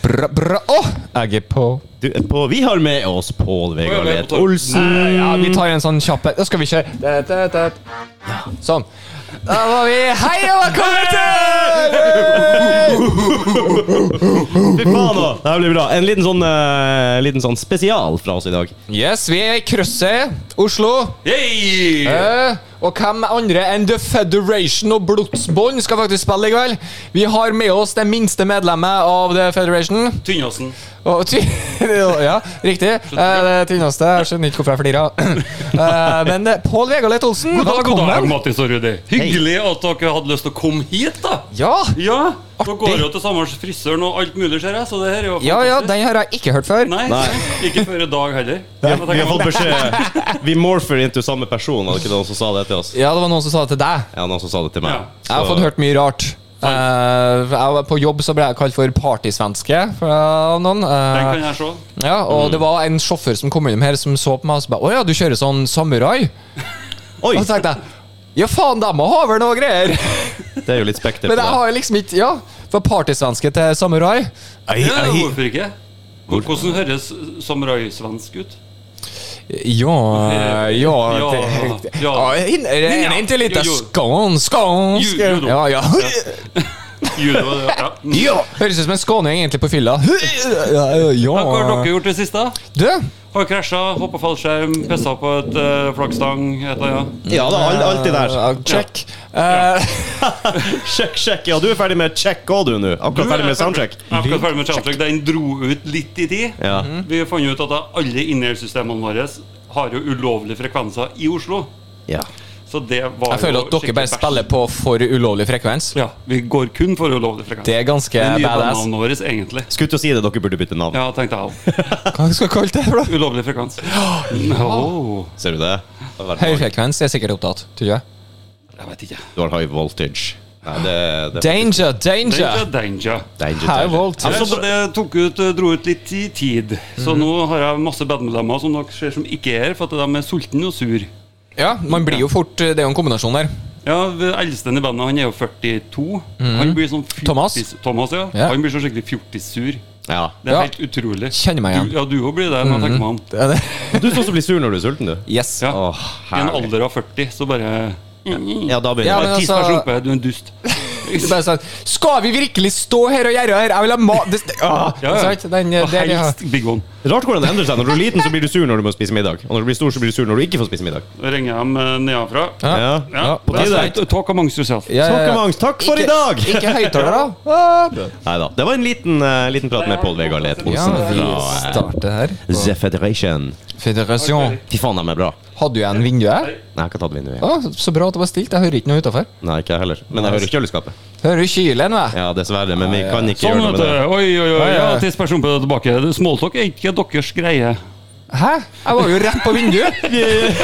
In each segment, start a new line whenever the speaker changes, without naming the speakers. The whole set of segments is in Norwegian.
Bra, bra. Å, jeg er på.
Du er på, vi har med oss Pål Vegard
Pål er på
Vedt
torg.
Olsen.
Eh, Ja, vi tar en sånn kjapp Da skal vi kjøre. Da, da, da. Sånn. Da var vi Hei og velkommen til
Fy faen, da! Det her blir bra. En liten sånn, eh, liten sånn spesial fra oss i dag.
Yes, vi er i krysset Oslo.
Hey!
Eh, Og hvem andre enn The Federation og Blodsbånd skal faktisk spille i kveld? Vi har med oss det minste medlemmet av The Federation.
Tynnåsen.
Og ty ja, riktig. Eh, det tynneste. Jeg skjønner ikke hvorfor jeg flirer. Eh, men eh, Pål Vegalett Olsen,
God dag, god dag,
velkommen.
Mattis og Rudi. Hyggelig at dere hadde lyst til å komme hit, da.
Ja,
Ja, Nå
Artig.
går jo til samme frisøren og alt mulig, ser jeg, så det her er jo
ja, ja,
fantastisk.
den har jeg ikke hørt før.
Nei, ikke før i dag heller.
Vi
Jeg
har,
må
vi
tenke
har fått
meg-
beskjed Vi morfer into samme person. Var det ikke noen som sa det til oss?
Ja, det var noen som sa det til deg.
Ja, noen som sa det til meg.
Ja.
Jeg har fått hørt mye rart. Eh, jeg var på jobb så ble jeg kalt for partysvenske fra noen.
Den
Eh,
kan jeg se.
ja, og det var en sjåfør som kom innom her som så på meg og så bare Å ja, du kjører sånn samurai?
Oi!
Og så tenkte jeg Ja, faen, de må ha vel noe greier!
Det er jo litt spekter på
Men
det.
jeg har liksom ikke Ja, fra partysvenske til samurai.
Ja, hvorfor ikke? Hvor- Hvordan høres samurai-svensk ut?
Ja Ja
Ja,
det-
ja.
Ja, hin- er det Inntil litt
Jo, jo.
skån, skånsk
Jo, jo, jo.
Ja, ja.
Judo, ja. Hva
ja. Høres ut som en skåning egentlig på fylla. Ja,
har
ja.
dere gjort det siste?
Du,
Har krasja, hoppa fallskjerm, pissa på et uh, flaggstang, et eller annet.
Ja, da, alt, alt det der.
Ja, check. Eh,
Sjekk, sjekk. Ja, du er ferdig med check òg, du, nå. Akkurat ferdig med soundcheck.
Jeg er akkurat ferdig med soundcheck. Den dro ut litt i tid.
Ja.
Vi fant ut at alle innhjelpssystemene våre har jo ulovlige frekvenser i Oslo.
ja.
Så det var
jeg føler at dere bare spiller på for ulovlig frekvens.
Ja, vi går kun for ulovlig frekvens.
Det er ganske
Det er nye
badass.
bandnavnet vårt, egentlig.
Skulle til å si det, dere burde bytte navn.
Ja, tenkte jeg òg.
Hva skal jeg kalle det? for da?
Ulovlig frekvens. Oh,
Ser du det?
Høy frekvens er sikkert opptatt. tror jeg.
jeg vet ikke.
Du har high voltage. Nei, det, det
Danger,
Danger,
danger!
danger.
Danger,
High
danger.
voltage.
Ja, så det tok ut, dro ut litt i tid. Så
Mhm.
nå har jeg masse bandmedlemmer som dere ser som ikke er her, for at de er sultne og sur
Ja, man blir jo fort eh, Det er jo en kombinasjon der.
Ja, ved eldsten i bandet, han er jo 42. Han blir sånn fjortis...
Mhm. Thomas?
Thomas, ja.
Ja.
Han blir sånn skikkelig fjortissur.
Ja.
Det er
Ja.
helt utrolig.
Kjenner meg igjen.
Du, ja, du òg blir det, må jeg tenke meg om.
Det er det.
Du som også blir sur når du er sulten, du.
Yes.
Ja.
Åh,
I en
herlig.
alder av 40, så bare
Ja, da
Ja,
begynner
men
det.
altså-
Tiss meg slumpe, du er en dust.
Det er bare sånn, Skal vi virkelig stå her og gjøre her? Jeg vil ha mat det, ah,
Ja, ja.
sant? Den, eh,
Og
det er det jeg har.
helst Big One.
Rart hvordan det endrer seg. Når du er liten, så blir du sur når du må spise middag. Og når du blir stor, så blir du sur når du ikke får spise middag.
Da ringer jeg dem eh, nedenfra.
Ja.
Ja.
Ja,
på tide.
that's right. Talk amongst yourself.
Ja, ja,
Takk,
ja.
Mangs. Takk for i dag!
Ikke, ikke høyttaler, da. Ah.
Nei da. Det var en liten, eh, liten prat med Pål Vegard Leth
Ja,
Olsen
vi
fra eh,
starter her.
The Federation.
Federation.
Fy faen, de er bra.
Hadde du en vindu her?
Nei, jeg har ikke tatt vinduet. i.
Ah, så bra at det var stilt. Jeg hører ikke noe utafor.
Nei, ikke jeg heller. Men jeg hører kjøleskapet.
Hører kylene, jeg.
Ja, dessverre. Men vi
Ja, ja.
kan ikke
Sånn,
gjøre noe
vet
med
du.
det.
Oi, oi, oi.
Ja, ja.
Ja, Tiss meg slumpe tilbake. Smalltalk er ikke deres greie.
Hæ? Jeg var jo rett på vinduet!
eh,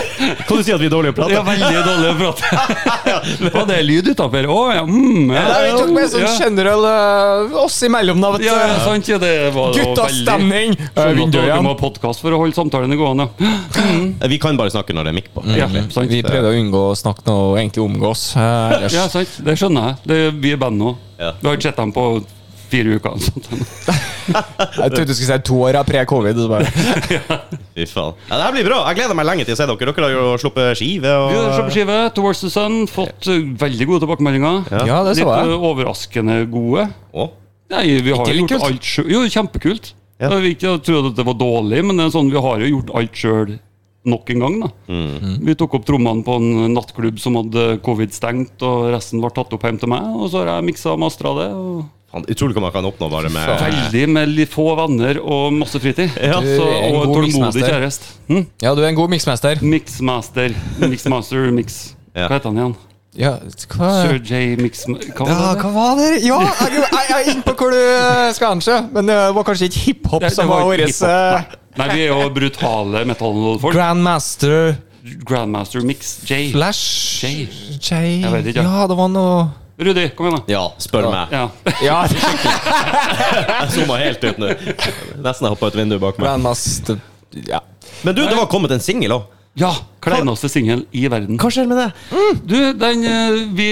Kan du si at vi er dårlige til å
Det er
prate?
veldig dårlig å prate. Var det er lyd utafor? Å ja. Mm, ja.
Nei, vi tok med sånn
Ja.
general eh, oss imellom, da, vet du. Eh,
Ja, ja, sant, ja, det var det var
Guttas
veldig-
stemning!
Skjønner at dere må
Vinduene.
ha podkast for å holde samtalene gående.
Eh, Vi kan bare snakke når det er mikk
Mm.
på.
Ja, sant.
Vi prøvde å unngå å snakke noe egentlig omgås. eh, ellers.
Ja, sant. Det skjønner jeg. Det, vi er band nå.
Ja.
Vi har ikke sett dem på fire uker. Sånn.
Jeg trodde du skulle si to år av pre-covid. og så bare-
Fy faen. Ja, det her blir bra. Jeg gleder meg lenge til å se dere. Dere har jo sluppet skive
Vi har kjøpt
og
skive, Towards the Sun, fått eh, veldig gode tilbakemeldinger.
Ja, det
Litt
så
eh,
jeg.
overraskende gode.
Å,
Nei, vi har
Ikke
jo
litt
gjort
kult?
alt sjøl. Jo, kjempekult.
Ja.
Jeg vil ikke tro at det var dårlig, men det er sånn, vi har jo gjort alt sjøl nok en gang. da.
Mm.
Vi tok opp trommene på en nattklubb som hadde covid stengt, og resten var tatt opp hjem til meg. Og så har jeg miksa og mastra det. og...
faen, Utrolig hva man kan oppnå bare med
Veldig med litt få venner og masse fritid.
Ja.
Du
Så,
er en
og
god
tålmodig
mixmaster.
kjæreste. Hm?
Ja, du er en god miksmester.
Mixmaster. Mixmaster mix.
Ja.
Hva heter han igjen?
Ja, hva
Sir J. Mix... Hva var
ja,
det?
hva var det? Ja, jeg, jeg, jeg er inne på hvor du eh, skal hen, sjø. Men det var kanskje ikke hiphop
Det- det
som var
var ikke
årets eh,
Nei, vi er jo brutale metallfolk.
Grandmaster
Grandmaster Mix J.
Flash
Jay.
Jay.
Jeg vet ikke.
Ja, det var noe
Rudi, kom igjen, da.
Ja, spør meg.
Ja.
Ja,
Jeg zooma helt ut nå. Nesten jeg hoppa ut vinduet bak meg.
Grandmaster Ja.
Men du, det var kommet en singel òg.
ja Kleineste singel i verden.
Hva skjer med det?
Du, den eh, vi,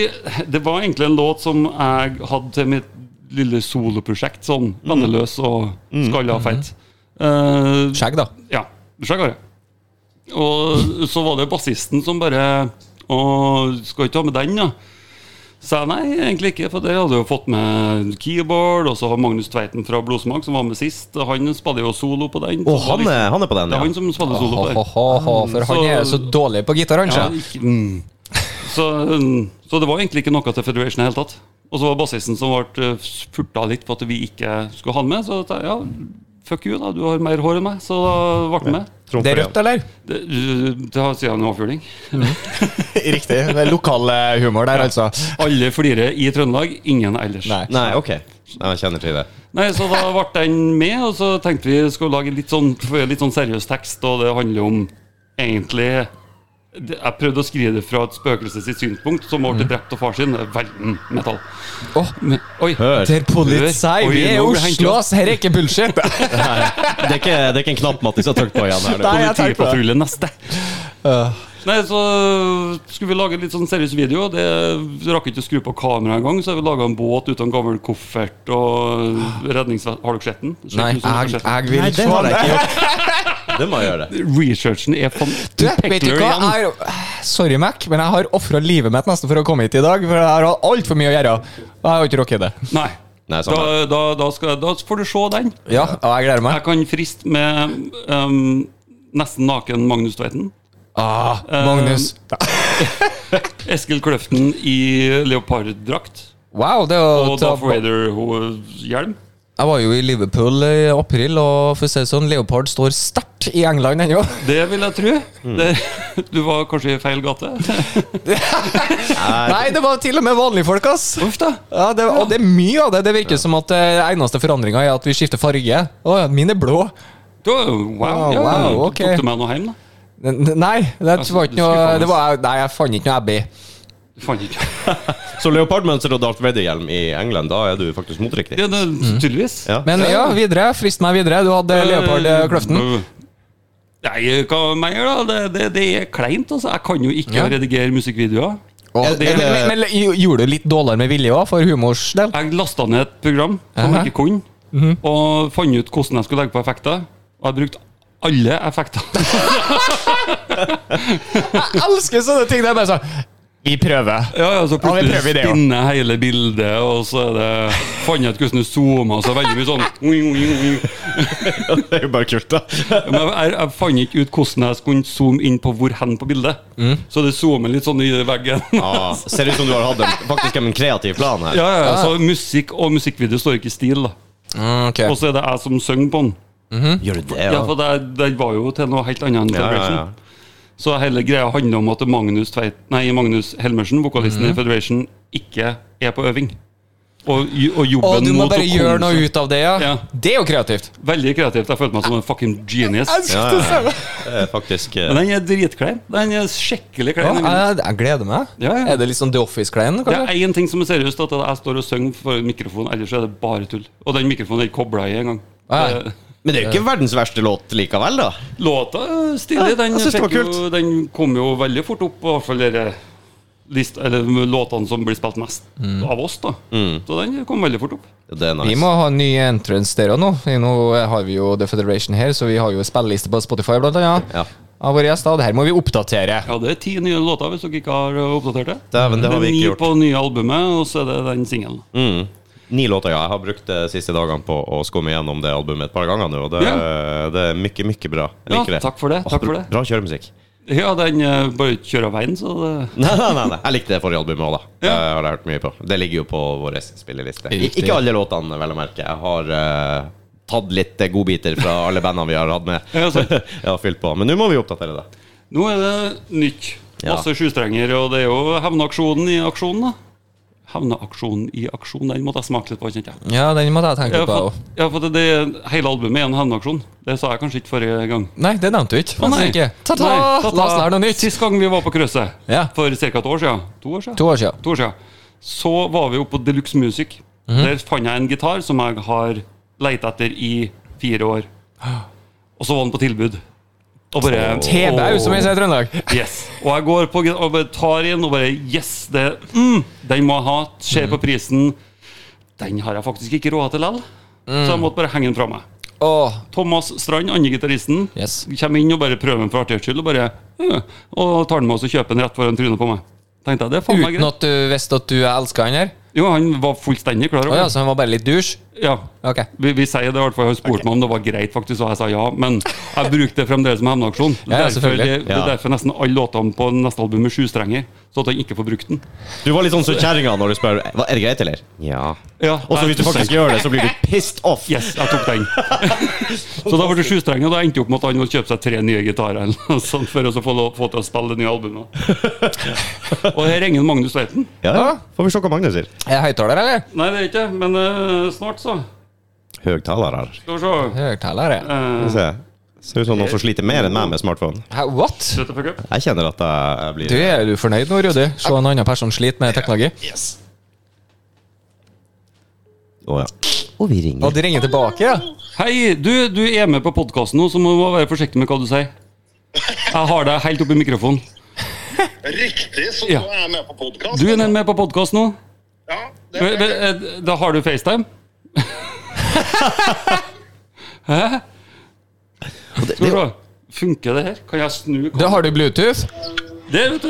Det var egentlig en låt som jeg hadde til mitt lille soloprosjekt, sånn venneløs og
Mm.
skalla og feit. Eh,
Skjegg, da.
ja, skjegg har jeg. Og så var det bassisten som bare Å, skal ikke ha med den, da? Sa jeg nei, egentlig ikke, for det hadde jeg jo fått med keyboard. Og så har Magnus Tveiten fra Blodsmak, som var med sist, han spiller jo solo på den.
Og
Så
han,
det var liksom-
er, han er på den,
Det er han
ja.
som spiller solo på den.
Ho-ho-ho, for han
Så-
er jo så dårlig på gitar, han.
Ja,
sjø.
ikke, mm. så, mm, så det var egentlig ikke noe til Federation i det hele tatt. Og så var bassisten som ble furta litt på at vi ikke skulle ha han med. Så sa jeg, ja, fuck you, da, du har mer hår enn meg. Så da ble han med.
Det er rødt, eller?
Det, det har- sier han avfjuling.
Riktig. Det er lokal eh, humor der, altså.
Alle flirer i Trøndelag, ingen ellers.
Nei.
Nei, ok. Nei, jeg kjenner til det.
Nei, Så da ble den med, og så tenkte vi skulle lage litt sånn, få litt sånn seriøs tekst, og det handler om egentlig det- Jeg prøvde å skrive det fra et spøkelse sitt synspunkt, som ble drept av far sin. Det er Veldig metall.
Åh,
Men, oi.
Hør.
det er politi.
Oi,
Vi er i
nå ble jeg
Oslo, ass. Her er ikke bullshit.
Det er ikke, det er ikke en knapp Mattis har trykt på igjen her.
Nei,
nå.
jeg tenker på det.
Politipatrulje neste. Nei, så skulle vi lage en litt sånn seriøs video. Det vi rakk ikke å skru på kameraet engang, så har vi laga en båt uten gammel koffert og redningsvest. Har dere sett den? Sett
Nei,
den som
jeg,
dere har sett den?
jeg vil
Nei,
ikke
det har
svare.
jeg ikke gjort. Det må jeg gjøre.
Researchen er fan-
Du, vet du
Peckler
hva?
igjen.
Jeg, har- sorry, Mac, men jeg har ofra livet mitt nesten for å komme hit i dag. For jeg har hatt altfor mye å gjøre. Jeg har ikke rukket det.
Nei.
Nei,
Da,
sånn.
da, da, skal, da får du se den.
Ja, og jeg gleder meg.
Jeg kan friste med ehm, nesten naken Magnus Tveiten.
Ah, Magnus.
Eskil Kløften i leoparddrakt.
Wow, det å
Og
ta
Darth Vader-hjelm.
Jeg var jo i Liverpool i april, og for å si det sånn, Leopard står sterkt i England ennå.
Det vil jeg tro.
Mm.
Det, du var kanskje i feil gate.
Nei, det var til og med vanlige folk, ass.
Uff da.
Ja, det, og det er mye av det. Det virker som at eh, eneste forandringa er at vi skifter farge. Å, ja, min er blå.
Du, wow,
Ah,
ja,
wow,
du
ok.
Tok du med noe hjem, da?
N- n- Nei, det
Altså,
var ikke
du
noe
skuffer
det var, Nei, jeg fant ikke noe Abbey.
Du fant ikke
Så leopardmønster og Darth Vader-hjelm i England, da er du faktisk motriktig.
Ja, det, tydeligvis.
Ja.
Men Mm. ja, videre. Frist meg videre. Du hadde Leopard eh, Kløften.
Nei, hva mener jeg, da? Det, det, det er kleint, altså. Jeg kan jo ikke
Ja.
redigere musikkvideoer.
Og,
det-
Eh, men, men, men gj- gjorde du litt dårligere med vilje òg, for humors del?
Jeg lasta ned et program som
Aha. Mhm.
jeg ikke kunne, og fant ut hvordan jeg skulle legge på effekter. Og jeg brukte alle effekter.
Jeg elsker sånne ting! Det er bare sånn Vi prøver.
Ja, ja, så
vi
plutselig
prøver det, ja.
spinner hele bildet, og så er det Fant jeg ut hvordan du zoomer, så er det veldig mye sånn
Det er jo bare kult, da.
Ja, Men jeg, jeg, jeg fant ikke ut hvordan jeg skulle zoome inn på hvor hen på bildet.
Mm.
Så det zoomer litt sånn i veggen. ja,
Ja, Ah, ser ut som du har hatt en, faktisk en kreativ plan her.
ja, ja. Så musikk og musikkvideo står ikke i stil. da
Mm, ok.
Og så er det jeg som synger på den.
Gjør du det,
Ja, for det, det var jo til noe helt annet enn
Ja, ja,
Federation.
ja.
Så hele greia handler om at Magnus, Tveit, nei, Magnus Helmersen, vokalisten
Mm.
i Federation, ikke er på øving. Og, jo- og jobben
Å, du må
mot å
bare gjøre
komme
noe
seg-
ut av det, ja.
Ja.
Det er jo kreativt.
Veldig kreativt. Jeg følte meg som en fucking genius.
Ja, ja, ja. Det er faktisk eh,
Men den er dritklein. Den er skikkelig klein.
Ja,
den videoen.
jeg, jeg gleder meg.
Ja, ja.
Er det litt sånn The Office-kleien?
Det
kanskje?
er én ting som er seriøst, at jeg står og synger for mikrofonen, ellers er det bare tull. Og den mikrofonen er ikke kobla i engang.
Ah, ja.
Det-
Men det er jo ikke verdens verste låt likevel, da.
Låta er stilig. Den,
jeg synes det var
fikk jo, den kom jo veldig fort opp, i hvert fall dere list, eller låtene som blir spilt mest
Mm.
av oss, da. Så den kom veldig fort opp.
Det er nice.
Vi må ha en ny entrance der også nå. For Nå har vi jo The Federation her, så vi har jo spilleliste på Spotify, blant annet.
Ja.
Av våre gjester. Og det her må vi oppdatere.
Ja, det er ti nye låter, hvis dere ikke har uh, oppdatert det.
Dæven, det har
er
vi
ni
ikke gjort.
på nye albumet, og så er det den singelen.
Mm. Ni låter, ja. Jeg har brukt de siste dagene på å skumme gjennom det albumet et par ganger nå, og det, det er mye, mye bra. Jeg
Ja,
liker det.
takk for det,
Åh,
takk for
bra-
det.
Bra kjøremusikk.
Ja, den uh, bare kjører av veien, så det
Nei, nei, nei, nei. Jeg likte det forrige albumet òg, da. Det
Ja.
har jeg hørt mye på. Det ligger jo på vår spilleliste. Ik
Riktig.
ikke alle låtene, vel å merke. Jeg har eh, tatt litt eh, godbiter fra alle bandene vi har hatt med.
Ja, sant.
jeg har fylt på. Men nå må vi oppdatere det.
Nå er det nytt.
Ja.
Masse sjustrenger, og det er jo hevnaksjonen i aksjonen, da. Hevnaksjonen i aksjon, den måtte jeg smake litt på, kjente jeg.
Ja, den måtte jeg tenke
Ja,
litt på.
for,
også.
ja, for det, det, hele albumet er en hevnaksjon. Det sa jeg kanskje ikke forrige gang.
Nei, det nevnte du ikke.
Å,
faktisk ikke. Ta-ta!
Nei, ta-ta.
La oss lære noe nytt.
Sist gang vi var på krøsset,
Ja.
for ca. et år siden, to år siden,
To år siden.
to år siden, så var vi oppe på Deluxe Music.
Mhm.
Der fant jeg en gitar som jeg har leita etter i fire år. Og så var den på tilbud. Og bare
Tebau, som vi
Åh.
sier i Trøndelag.
Yes. Og jeg går på
Mm.
og bare tar inn og bare Yes, det, mm, den må jeg ha. Ser på prisen. Den har jeg faktisk ikke råd til likevel, så
Mm.
jeg måtte bare henge den fra meg.
Åh,
Thomas Strand, andre gitaristen,
Yes.
kommer inn og bare prøver den for artighets skyld. Og bare øh, Og tar den med oss og kjøper den rett foran trynet på meg. Tenkte jeg, det er faen meg
uten
greit.
at du visste at du elska han her?
Jo, han var fullstendig klar
Å
over
ja,
det.
så han var bare litt douche?
Ja.
Ok.
Vi, vi sier det i hvert fall. Han spurte meg om det var greit, faktisk, og jeg sa ja. Men jeg brukte det fremdeles som hevnaksjon.
Ja, ja,
Derfor- det,
selvfølgelig.
det er
Ja.
derfor nesten alle låtene på neste album er sju strenger, så at han ikke får brukt den.
Du var litt sånn som kjerringa når du spør Hva, Er det greit, eller? Ja.
Ja,
Og så hvis du faktisk gjør det, så blir du pissed off.
Yes, jeg tok den. så da ble det sjustrenger, og da endte jeg opp med at han måtte kjøpe seg tre nye gitarer eller noe sånt, for å så få, lov, få til å spille det nye albumet. og her ringer Magnus Leiten.
Ja, ja. Får vi se hva Magnus sier.
Er jeg høyttaler, eller?
Nei, det er ikke det, men eh, snart, så.
Høgtaler her.
Skal vi se.
Høyttaler, ja.
Skal vi
Uh,
se. Ser ut som noen som sliter mer enn meg med smartphone.
Hæ, What?
Jeg kjenner at jeg jeg
Du,
blir
er du fornøyd nå, Rudi? Se en annen person slite med teknologi.
Å ja. Og vi ringer.
Og de ringer tilbake, ja?
Hei, du, du er med på podkasten nå, så må du være forsiktig med hva du sier. Jeg har deg helt oppi mikrofonen.
Riktig, så
Ja.
nå er jeg med på podkast.
Du er med på podkast nå.
Ja, det
Vel, vel, eh, Da har du FaceTime? Hæ? Skal vi se. Funker det her? Kan jeg snu
Da har du Bluetooth.
Der, vet du!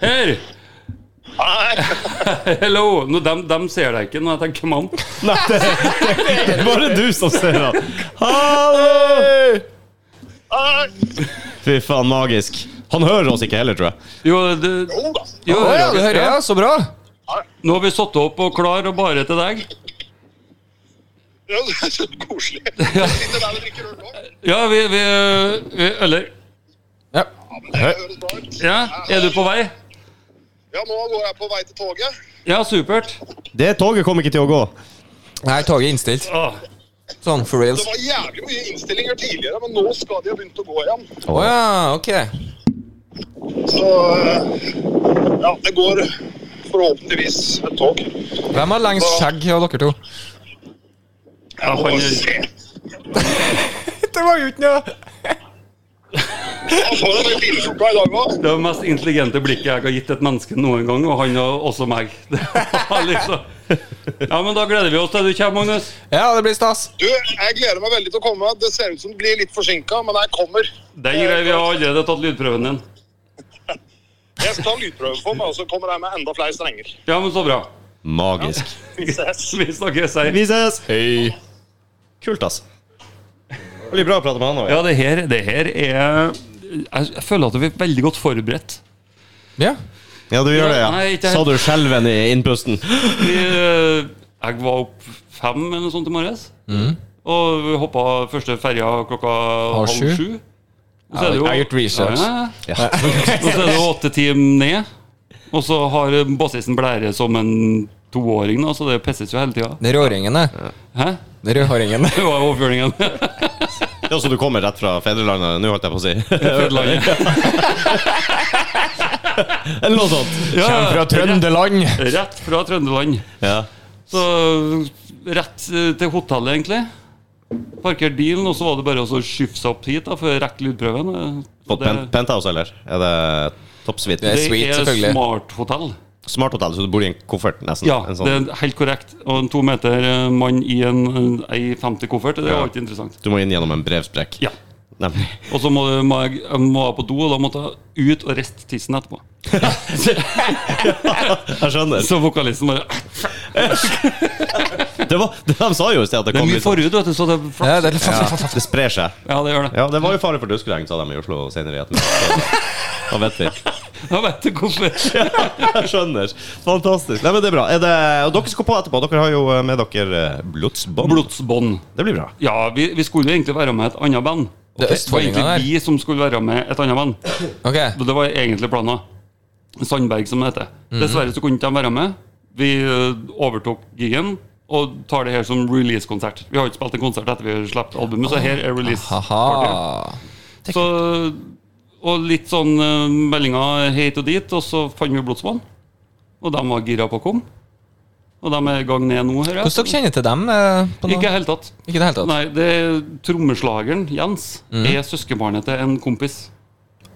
Her!
Nei,
Hello! Nå, dem, dem ser deg ikke når jeg tenker meg om.
Nei, det, det er bare du som ser han. Hallo!
nei.
Fy faen, magisk. Han hører oss ikke heller, tror jeg.
Jo, det,
Jo da.
jo,
Å ja, du hører, ja. Så bra.
Nå har vi satt opp og klar og bare til deg.
Ja, det er så Koselig. Jeg sitter der og drikker øl òg.
Ja, vi, vi, vi Eller
Ja.
Det høres bra ut.
Ja, er du på vei?
Ja, nå går jeg på vei til toget.
Ja, supert.
Det toget kom ikke til å gå.
Nei, toget er innstilt.
Åh,
Sånn for reals.
Det var jævlig mye innstillinger tidligere, men nå skal de ha begynt å gå igjen.
Å ja, ok.
Så eh, ja, det går forhåpentligvis et tog.
Hvem har lengst skjegg av dere to?
Jeg
Må
fant
se.
Det var jo ikke noe
Han får den bilskjorta i dag òg.
Det var det mest intelligente blikket jeg har gitt et menneske noen gang, og han og også meg. Det var liksom. Ja, men da gleder vi oss til du kommer, Magnus.
Ja, det blir stas.
Du, jeg gleder meg veldig til å komme. Det ser ut som det blir litt forsinka, men jeg kommer.
Den greier vi har allerede tatt lydprøven din.
Jeg skal ta lydprøve for meg, og så kommer jeg med enda flere strenger.
Ja, men så bra.
Magisk.
Vi ses.
Vi snakkes her.
Vi ses. Hei. Kult, ass. Det blir bra å prate med han òg.
Ja, det her, det her er jeg, jeg føler at vi er veldig godt forberedt.
Ja.
Ja, du gjør det,
Nei,
ja.
ikke helt.
Sa du skjelven i innpusten?
Vi, eh, jeg var opp fem eller noe sånt i morges.
Mm.
Og vi hoppa første ferja klokka halv
sju?
sju. Og så er det jo-
Jeg har gjort research.
Ja, ja. Og så er det jo åtte timer ned. Og så har bassisten blære som en toåring, da, så det pisses jo hele tida.
Det er rødhåringen, det.
Hæ?
Det er rødhåringen.
Det var overføringen.
Ja, så du kommer rett fra fedrelandet? Nå holdt jeg på å si. Eller noe sånt.
Kommer fra Trøndeland.
Rett, rett fra Trøndelag.
Ja.
Så rett eh, til hotellet, egentlig. Parkert bilen, og så var det bare å skyffe seg opp hit da, for å rekke lydprøven. eh,
Fått
det-
pen- penthouse, eller? Er det toppsuite?
Det er sweet,
Det
selvfølgelig.
er smarthotell.
Smarthotell, så du bor i en koffert, nesten?
Ja,
Mm, en sånn-
det er helt korrekt. Og en to meter eh, mann i en eh, ei 50-koffert, det
Ja.
var ikke interessant.
Du må inn gjennom en brevsprekk.
Ja.
Nemlig.
Og så må, du- må jeg jeg må jeg på do, og da måtte jeg ut og riste tissen etterpå.
Jeg skjønner.
Så vokalisten bare Det
Det var, de sa jo i sted at det
er
kom
mye
litt sånn-
forhud, vet du, så det er
Ja,
flaks.
det er litt
ja, Det sprer seg.
liksom." Ja, det gjør det.
Ja, det var jo fare for duskregn, sa de i Oslo senere i ettermiddag. så Da vet vi.
Jeg vet ikke hvorfor.
Jeg skjønner. Fantastisk. Nei, men det er bra. Er det, og dere skal på etterpå. Dere har jo eh, med dere eh, blodsbånd.
Blodsbånd.
Det blir bra.
Ja, vi, vi skulle jo egentlig være med et annet band.
Det er
Det
østfoldingene
var
der.
egentlig vi som skulle være med et annet band.
Ok.
Det var egentlig planen. Sandberg, som det heter.
Mhm.
Dessverre så kunne ikke de være med. Vi eh, overtok gigen og tar det her som release-konsert. Vi har ikke spilt en konsert etter vi har sluppet albumet, så her er release-party.
Ah, Haha.
Så, og litt sånn eh, meldinger hit og dit, og så fant vi Blodsvann. Og de var gira på å komme. Og de er i gang ned nå, hører
Hvordan
jeg.
dere kjenner til dem? eh, På
Ikke i
noe?
det hele tatt.
Ikke i det hele tatt.
Nei, det er trommeslageren, Jens,
Mm.
er søskenbarnet til en kompis.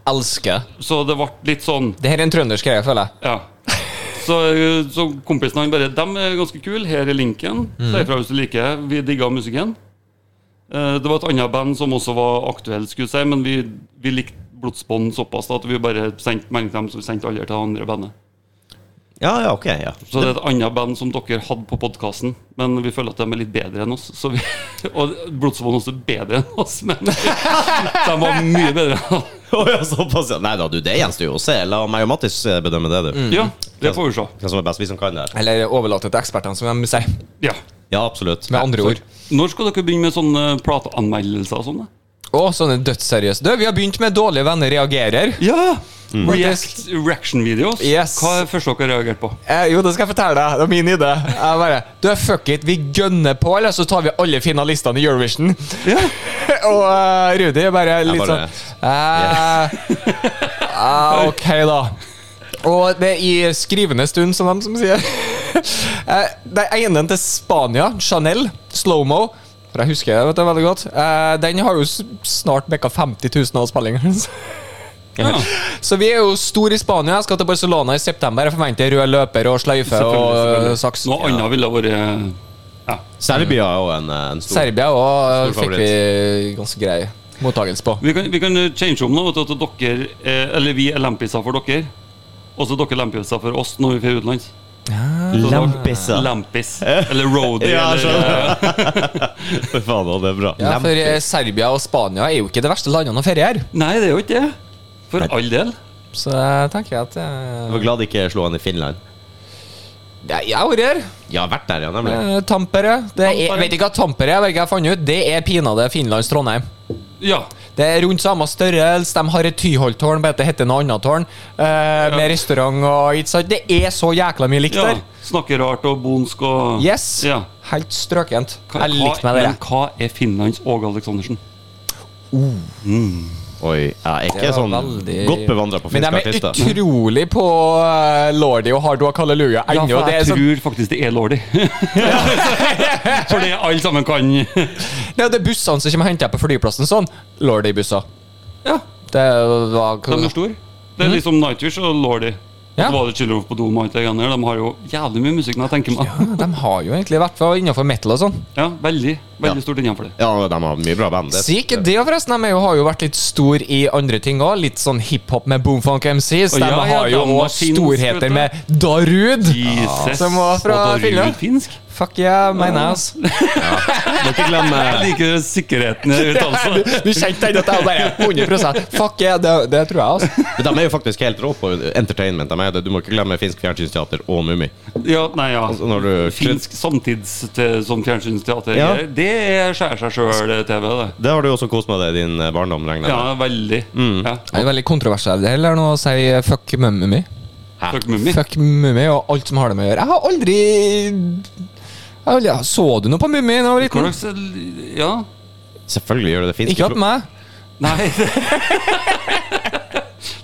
Elsker.
Så det ble litt sånn
Det her er en trøndersk greie, føler jeg.
Ja. Så, eh, så kompisen han bare Dem er ganske kule. Her er linken. Si ifra hvis du liker. Vi digga musikken. Eh, Det var et annet band som også var aktuelt, skulle jeg si, men vi, vi likte blodsbånd såpass da, at vi bare sendte melding til dem, så vi sendte aldri til det andre bandet.
Ja, ja, ok. Ja.
Så det er et annet band som dere hadde på podkasten, men vi føler at de er litt bedre enn oss. Så vi, og Blodsbånd også er bedre enn oss, men de var mye bedre.
Å, ja, såpass, ja. Nei da, du, det gjenstår jo å se. La meg og Mattis eh, bedømme det, du.
Ja, det får vi se.
Hvem som er best, vi som kan det her.
Eller overlate til ekspertene, som de sier.
Ja.
Ja, absolutt.
Med andre ord.
Når skal dere begynne med sånne plateanmeldelser og sånne?
Å, sånn er dødsseriøst. Du, vi har begynt med Dårlige venner reagerer.
Ja! React reaction-videos.
Mm. Yes.
Hva er det første dere har reagert på?
Eh, jo, det skal jeg fortelle deg. Det er min idé. Jeg bare Du, fuck it, vi gønner på, eller så tar vi alle finalistene i Eurovision.
Ja.
Og eh, Rudi er bare litt
bare-
sånn eh, eh, Ok, da. Og det er i skrivende stund, som de som sier. Eh, det er ene til Spania, Chanel, slow-mo. For jeg husker det vet du, veldig godt. Eh, den har jo s- snart bikka 50 000 av spillingene. så-
Ja.
så vi er jo store i Spania. Jeg skal til Barcelona i september. Jeg forventer rød løper og sløyfe
Selvfølgelig,
og
selvfølgelig.
eh, saks.
Noe annet ville vært øh, ja.
Serbia er jo en, eh, en stor
Serbia òg
Stor
fikk vi ganske grei mottakelse på.
vi, kan, vi kan change om nå, vet du, at dere, eh, eller vi er lampiser for dere. Og så dere lampiser for oss når vi drar utenlands.
Lampisser.
Lampis. Eller roadie.
Ja, jeg skjønner.
eller,
Fy faen, da, det er bra.
Ja, for eh, Serbia og Spania er jo ikke det verste landene å feriere.
Nei, det er jo ikke det. For all del.
Så jeg tenker at
Jeg var
eh,
glad det ikke slo han i Finland.
det er- Jeg har vært her.
Jeg har vært der, ja, nemlig.
Eh, Tampere. Det er, jeg
Tampere.
vet ikke hva Tampere er, hva jeg har funnet ut. Det er pinadø Finlands Trondheim.
Ja.
Det er rundt samme størrelse. De har et Tyholt-tårn, bare at det heter noe annet tårn. eh, Med restaurant og ikke sant. Det er så jækla mye likt
ja.
der.
Snakke rart og bonsk og
Yes.
Ja.
Helt strøkent.
Hva,
jeg likte meg
hva-
det.
Men hva er Finlands Åge Aleksandersen?
Oi, jeg er
Det
ikke
var
sånn
veldig-
godt bevandra på
Men de
finske
er
artister.
utrolig på eh, Lordi og Hard Walk Hallelujah
Ja,
ennå.
for
det, er
jeg
sånn,
tror faktisk det er Lordi. for det alle sammen kan.
det er de bussene som kommer og henter deg på flyplassen sånn. Lordi-busser.
Ja,
Det var
de er store. Det er liksom Nightwish og Lordi. Og
Ja.
Så var det Chillerhoff på Dome og alt det greiene der. De har jo jævlig mye musikk, når jeg tenker meg.
De har jo egentlig vært for- innenfor metal og sånn.
Ja, veldig,
Ja.
veldig stort innenfor det.
Ja, de har mye bra band.
Si ikke det, forresten. De er jo, har jo vært litt stor i andre ting òg. Litt sånn hiphop med Boomfunk MCs.
Å,
De
ja, ja,
har jo
de var
også
finsk, vet
storheter
du.
med Darud.
Jesus.
Som var fra
og da er det
Finland.
Finsk.
Fuck yeah, mener jeg, altså.
Ikke glem
Jeg liker sikkerheten i uttalelsen.
Du kjente den at jeg bare 100 Fuck yeah, det, det tror jeg, altså.
Men de er jo faktisk helt rå på entertainment. De er det. Du må ikke glemme finsk fjernsynsteater og Mummi.
Ja, nei, ja.
Altså, når du-
Finsk samtids til, som fjernsynsteater.
Ja.
Det er skjærer seg sjøl-TV, det.
Det har du også kost med deg i din eh, barndom, regner jeg
Ja, veldig. Ja.
Det er veldig kontroversielt det her nå å si eh, fuck mummi.
Fuck Mummi.
Fuck mummi og alt som har det med å gjøre. Jeg har aldri jeg har aldri, Så du noe på mummi da jeg var
Hva
liten?
slags- Ja.
med. Selvfølgelig gjør det det finske
Ikke hatt
flo-
meg.
Nei.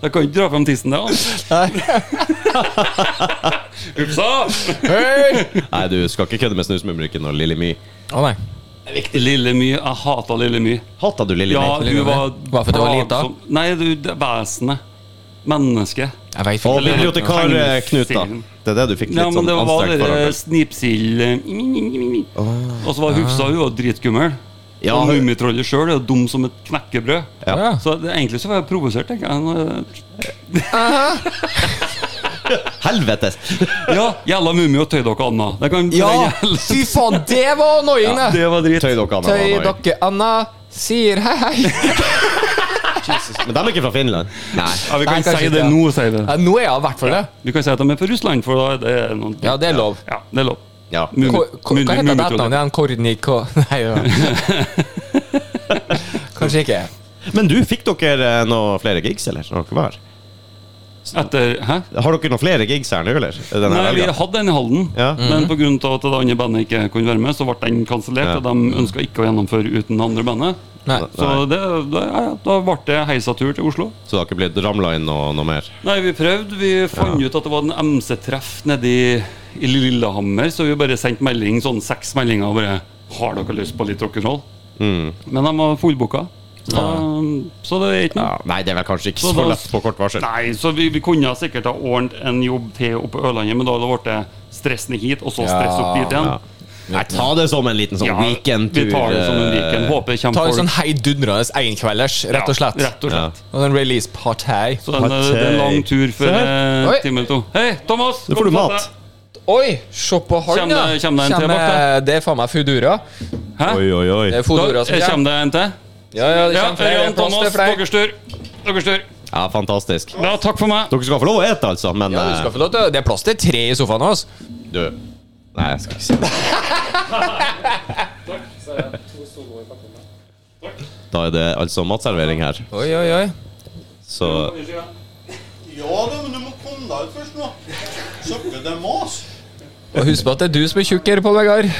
Da kan du ikke dra fram tissen, det. altså. Upsa!
Hei!
Nei, du skal ikke kødde med Snusmumrikken og Lilly My.
Å nei.
Lille My. Jeg hata Lille My.
Hata du Lilly
Ja,
My?
Lille
hun
My.
var
Bare fordi hun var lita?
plagsom. Nei, du, det- vesenet. Mennesket.
Jeg vet
Og
ikke.
bibliotekar eh, Knut, da. Det er det du fikk litt
Ja, men
sånn
det var
anstrengt
dere
forhold til.
snipsild eh, Og så var Hufsa hun var dritkummel.
Ja,
og
hun-
Mummitrollet sjøl er jo dum som et knekkebrød.
Ja.
Så det, egentlig så var jeg provosert, tenker jeg. Nå-
Helvetes!
Ja, Jævla Mummi og Tøydokka Anna. Det, kan,
Ja,
det,
fy faen, det var annoying, det!
det var drit.
Tøy dere, Anna.
Tøy
Anna.
dere, Anna sier hei, hei.
Men de er ikke fra Finland. Nei.
Ja, vi
Nei,
kan
kanskje
si
ikke,
det
ja.
nå, sier vi.
Ja, nå er jeg i hvert fall det.
Vi kan si at de er fra Russland, for da er det noen
Ja, det er lov.
Ja, det er lov.
Ja.
Mummi-
Ko- ko-
Mummi-
Hva heter det
Mummitrollet.
etternavnet igjen? Korniko Nei, ja. Kanskje ikke.
Men du, fikk dere eh, noe flere gigs, eller? Når dere var? her?
Etter Hæ?
Har dere noen flere gigs her nå, eller? Denne
Nei, vi
helga?
hadde en i Halden,
Ja.
Mhm.
men pga. at det andre bandet ikke kunne være med, så ble den kansellert.
Ja.
Og de ønska ikke å gjennomføre uten det andre bandet.
Nei.
Så det, det, ja, ja, da ble det heisatur til Oslo.
Så det har ikke blitt ramla inn noe, noe mer?
Nei, vi prøvde. Vi fant ut at det var en MC-treff nede i, i Lillehammer, så vi bare sendte melding, sånn seks meldinger og bare Har dere lyst på litt rock'n'roll? Men de var fullbooka. Um, så det er ikke noe.
Mm. Ja, nei, det er vel kanskje ikke
Så
så,
da-
lett på kort varsel.
Nei, så vi, vi kunne sikkert ha ordnet en jobb til oppe på Ørlandet, men da hadde det blitt stressen hit, og så stress opp dit igjen.
Ja. Nei, ta det som en liten sånn
Ja,
weekendtur.
Vi tar det som en weekend.
eh,
Håper det
Ta
kommer
en
folk.
sånn heidundrende einkvelders, rett og slett.
Ja, rett og slett.
Og en release party.
Så den, eh, det er en lang tur før eh,
Oi.
timen to. Hei, Thomas!
Nå får du mat.
Oi, se på han,
Kjem
ja!
det- kjem det en til
Kjem,
bak
eh, Det er faen meg Foodora.
Hæ?
Oi, oi, oi.
Det er
Da,
Foodora som
eh,
kommer.
kommer det en til?
Ja, ja, det
Ja,
kommer flere. Det
Ørjan,
er plass
Thomas,
til flere.
deres tur. Deres tur.
Ja, fantastisk.
Ja, takk for meg.
Dere skal få lov å ete, altså, men
Ja, du skal få lov til å- Det er plass til tre i sofaen hans.
eh, du Nei, jeg skal ikke si det. Da er det altså matservering her,
Oi, oi, oi.
så
Ja da, men du må komme deg ut først nå. Slukke det mas.
Og husk på at det er du som er tjukk her, Pål Vegard.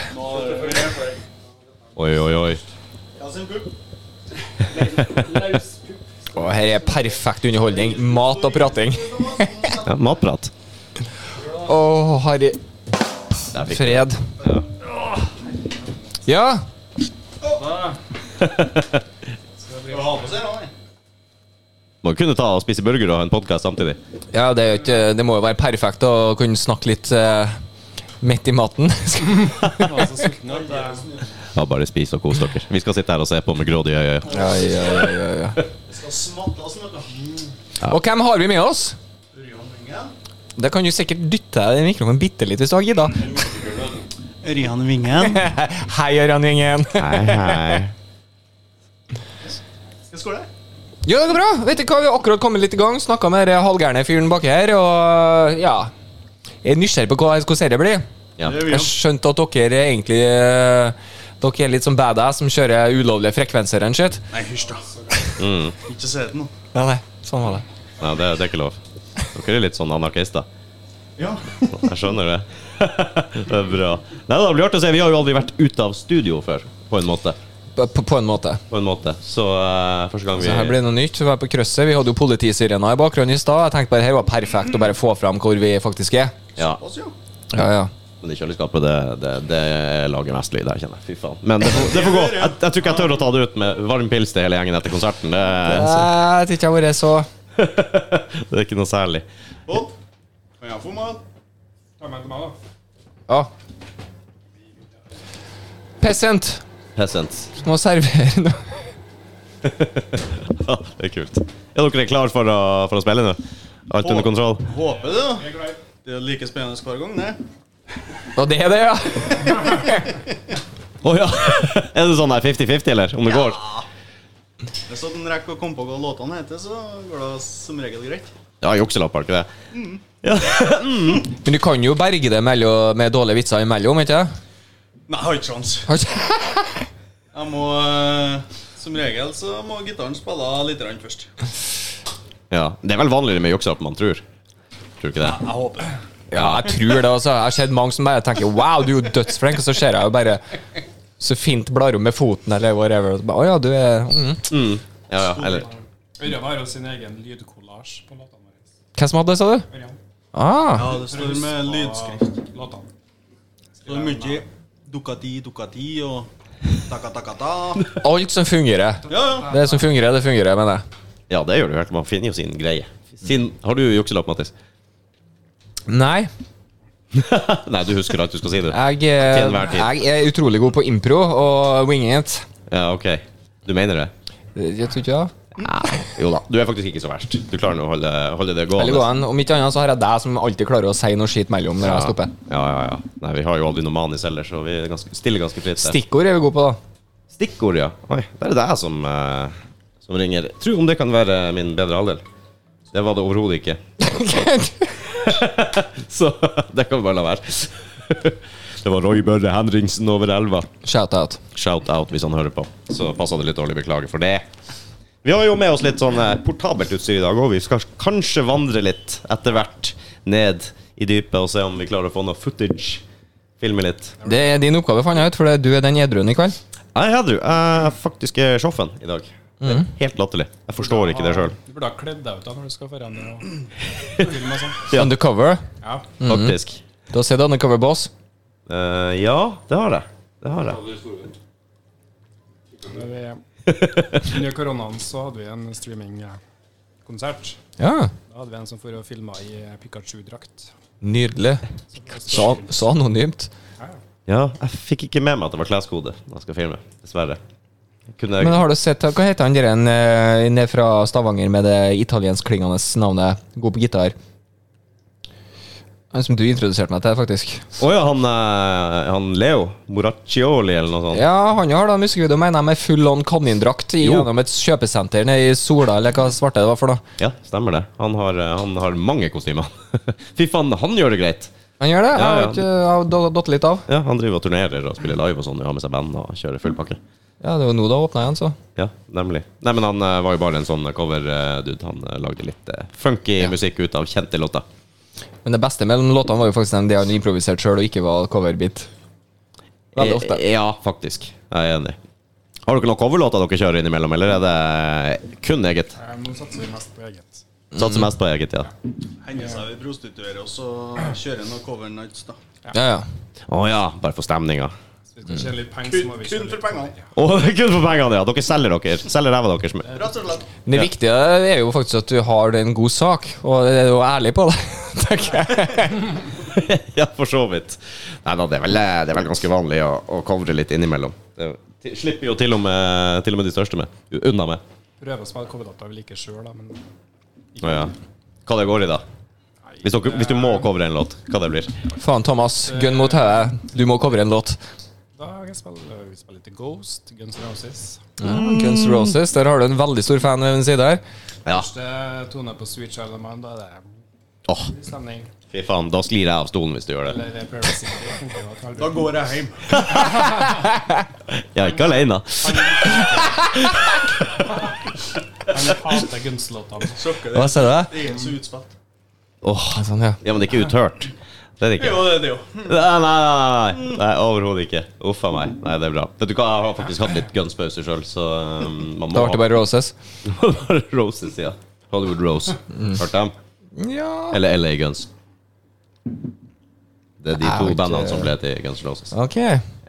Oi, oi, oi.
Ja, sin pupp.
Og her er perfekt underholdning. Mat og prating.
Ja, matprat.
Å, herre
Der fikk
fred. Ja.
Skal ha på seg da, nei.
Må jo kunne ta og spise burger og ha en podkast samtidig.
Ja, det, er jo ikke, det må jo være perfekt å kunne snakke litt uh, midt i maten.
sånn
Ja, bare spis og kos dere. Vi skal sitte her og se på med grådige øyne.
ja, ja, ja, ja, ja.
Det skal smattes, vet du. Mm.
Og hvem har vi med oss?
Ørjan Vinge.
Det kan du sikkert dytte deg i mikrofonen bitte litt hvis du har gidda.
Ørjan Vingen.
Hei, Ørjan Gjengen.
Hei, hei.
Skal jeg skåle?
Jo, det går bra. Vet du hva, Vi har akkurat kommet litt i gang. Snakka med den halvgærne fyren baki her, og ja Jeg er nysgjerrig på hva- hvordan det blir.
Ja.
Det er
Jeg
Ørjan.
skjønte at dere er egentlig eh, Dere er litt sånn badass som kjører ulovlige frekvenser og shit.
Nei, hysj da. Ikke se det nå.
Nei, nei, sånn var det.
Nei, det, det er ikke lov. Dere er litt sånn anarkister.
Ja.
Jeg skjønner det. Det er bra. Nei, det blir artig å se. Vi har jo aldri vært ute av studio før, på en måte.
På, på- på en måte.
På en måte. Så eh, første gang vi
Så Altså, her blir det noe nytt. Vi var på krøsset. Vi hadde jo politisirena i bakgrunnen i stad. Jeg tenkte bare her var perfekt å bare få fram hvor vi faktisk er.
Ja,
Pass, ja.
Ja, ja.
Men i kjøleskapet, det, det, det lager mest lyd her, kjenner jeg. Fy faen. Men det, får- det får gå. Jeg, jeg tror ikke jeg tør å ta det ut med varm pils til hele gjengen etter konserten. Det,
Nei, Jeg tror ikke jeg har vært så
det er ikke noe særlig.
Bob. Kan jeg få mat?
Ja. Peasant,
Pessent.
du må servere noe.
Ja, det er kult. Er dere klare for å, for å spille nå? Alt under kontroll?
Håper det, da. Det er like spennende hver gang, det.
Og det er det, ja.
Å ja! Er det sånn der 50-50, eller? Om det går?
Hvis sånn at en rekker å komme på hva låtene heter, så går det som regel greit.
Ja, jukselapper, ikke det?
Men du kan jo berge det mellom, med dårlige vitser imellom, ikke sant?
Nei, jeg har ikke sjans.
Har ikke-
Jeg må eh, Som regel så må gitaren spille litt grann først.
Ja, Det er vel vanligere med jukselapper man tror. Tror ikke det?
Jeg håper.
Ja, jeg tror det. altså. Jeg har sett mange som bare tenker 'wow, du er jo dødsflink', og så ser jeg jo bare så fint blar om med foten eller whatever. og så bare, Å ja, du er mm.
Ja, ja, eller
Ørjan har jo sin egen lydkollasj på låtene våre.
Hvem som hadde det, sa du?
Ørjan.
Ah,
Ja, det står med lydskrift.
Låtene.
Det står mye dukkati, dukkati og takka-takka-ta.
alt som fungerer.
Ja, ja.
Det som fungerer, det fungerer, mener jeg.
Ja, det gjør du helt. Man finner jo sin greie. Sin, har du jukselapp, Mattis?
Nei,
Nei, du husker alt du skal si, du.
jeg, eh,
Til enhver tid.
jeg er utrolig god på impro og winging it.
Ja, ok. Du mener det?
Jeg tror ikke det.
Jo da. Du er faktisk ikke så verst. Du klarer nå å holde, holde det
Veldig
gående.
god en. Om ikke annet så har jeg deg som alltid klarer å si noe skitt mellom når
Ja.
jeg stopper.
Ja, ja, ja. Nei, vi har jo aldri noe manus heller, så vi er ganske, stiller ganske fritt. der.
Stikkord er vi gode på, da.
Stikkord, ja. Oi, der er det jeg som, eh, som ringer. Tro om det kan være min bedre halvdel. Det var det overhodet ikke. Så det kan vi bare la være. Det var Roy Børre Henriksen over elva.
Shout-out.
Shout-out hvis han hører på. Så passa det litt dårlig. Beklager for det. Vi har jo med oss litt sånn eh, portabelt utstyr i dag òg. Vi skal kanskje vandre litt etter hvert ned i dypet og se om vi klarer å få noe footage. Filme litt.
Det er din oppgave, fant jeg ut, for det er du er den edruen i kveld.
Nei, Hedru, jeg er faktisk eh, sjåfen i dag. Det er helt latterlig. Jeg forstår ikke det sjøl.
Du burde ha kledd deg ut da når du skal foran deg og filme og sånn.
Undercover.
Ja.
Faktisk.
Du har sett Undercover Boss?
Eh, ja, det har jeg. Det har jeg.
Når vi Under koronaen så hadde vi en streamingkonsert.
Ja,
Da hadde vi en som for å filme i Pikachu-drakt.
Nydelig. Så, så anonymt.
Ja, jeg fikk ikke med meg at det var kleskode når jeg skal filme. Dessverre. Jeg Kunne
Men har du sett Hva heter han der en, eh, ned fra Stavanger med det italienskklingende navnet? God på gitar. Han som du introduserte meg til, faktisk.
Å ja, han, eh, han Leo Moraccioli eller noe sånt.
Ja, han har da musikkvideo, mener jeg, med full on kanindrakt i-
Jo.
gjennom et kjøpesenter nede i Sola, eller hva svarte det var for noe.
Ja, stemmer det. Han har, eh, han har mange kostymer. Fy faen, han gjør det greit!
Han gjør det? Jeg
Ja,
har
ja.
ikke jeg har da- datt litt av.
Ja, Han driver og turnerer og spiller live og sånn. og Har med seg band og kjører full pakke.
Ja, det er jo nå det åpna igjen, så.
Ja, nemlig. Nei, men han eh, var jo bare en sånn cover-dude. Han eh, lagde litt eh, funky musikk ut av kjente låter.
Men det beste mellom låtene var jo faktisk den de han improviserte sjøl, og ikke var coverbit. Veldig ofte.
Eh, Ja, faktisk. Jeg er enig. Har dere noen coverlåter dere kjører innimellom, eller er det kun eget?
Eh, Nå satser vi mest på eget.
Satser
Mm.
mest på eget, ja.
Hender seg vi prostituerer oss og kjører noe cover nights, da.
Ja, ja.
Å ja, bare for stemninga.
Så vi skal tjene litt penger, så
Kun,
må vi
kun
kjøre
for
litt.
pengene.
Å, det er kun for pengene, ja. Dere selger dere. Selger ræva deres. med-
Rett og slett.
Men det viktige er jo faktisk at du har en god sak, og er jo ærlig på det. tenker jeg.
Ja, for så vidt. Nei da, det er vel, eh, det er vel ganske vanlig å, å covre litt innimellom. Det ti- slipper jo til og med, til og med de største med. U- Unna med.
Prøve å spille coverlåter vi liker sjøl, da, men
Å ja. Hva det går i, da? Hvis, dere, hvis du må covre en låt, hva det blir
Faen, Thomas. Gun mot hodet. Du må covre en låt.
da kan jeg spille, vi spiller litt Ghost, Guns N' Roses.
Mm. Guns N' Roses. Der har du en veldig stor fan ved din side her.
Ja.
Første tone på Sweet Child of Mine, da er det
Åh,
stemning.
fy faen. Da sklir jeg av stolen hvis du gjør det.
Eller Paradise City. jeg tenker jo at
Da
aldri-
går jeg hjem.
Jeg er ikke aleine.
Han hater Guns-låtene.
Sjokker
Hva
det.
ser du? det?
Det er så utspilt.
Åh,
Sånn, ja.
Ja, men det er ikke uthørt. Det er det ikke.
Jo, det er det jo. Hm.
Nei, nei, nei, nei. nei overhodet ikke. Uff a meg. Nei, det er bra. Vet du hva, jeg har faktisk hatt litt gunspause sjøl, så um, man
Da
må
ble det bare Mm. Roses.
ha bare roses, ja. Hollywood Rose. Hørt dem?
Ja.
Eller LA Guns. Det er de
Jeg har
to
ikke-
bandene som ble til Guns N' Roses.
Ok.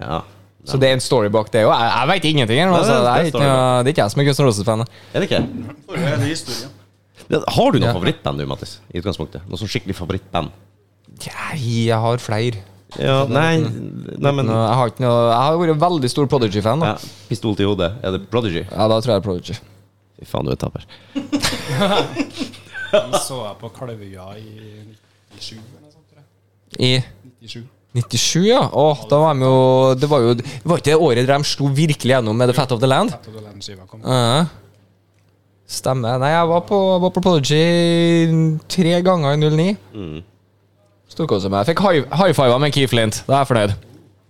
Ja.
Så det er en story bak det òg? Jeg, jeg veit ingenting. her, men
Nei,
Altså, det,
det er
er
en
ikke,
story
noe- det er ikke jeg som er Guns N' Roses-fan.
Er det ikke?
Forrige er det historien.
Ja, Har du noe
Ja.
favorittband du, Mattis? I utgangspunktet? Noe sånn skikkelig favorittband?
Ja, jeg har flere.
Ja, nei, nei men
Nå, Jeg har, ikke noe, jeg har vært veldig stor Prodigy-fan. da.
ja, Pistol til hodet. Er det Prodigy?
Ja, da tror jeg det er Prodigy.
Fy faen, du er taper.
Den så jeg på Kalvøya i 97 eller noe sånt. tror jeg.
I
97.
97, ja. Åh, da var de jo Det var jo det var ikke det året der de slo virkelig gjennom med The Fat of the Land?
Etter at Land-skiva kom.
Ah.
Ja. Stemmer. Nei, jeg var på, var på Prodigy tre ganger i 09. Storkosa meg. Jeg fikk high, high five med Keith Lint. Da er jeg fornøyd.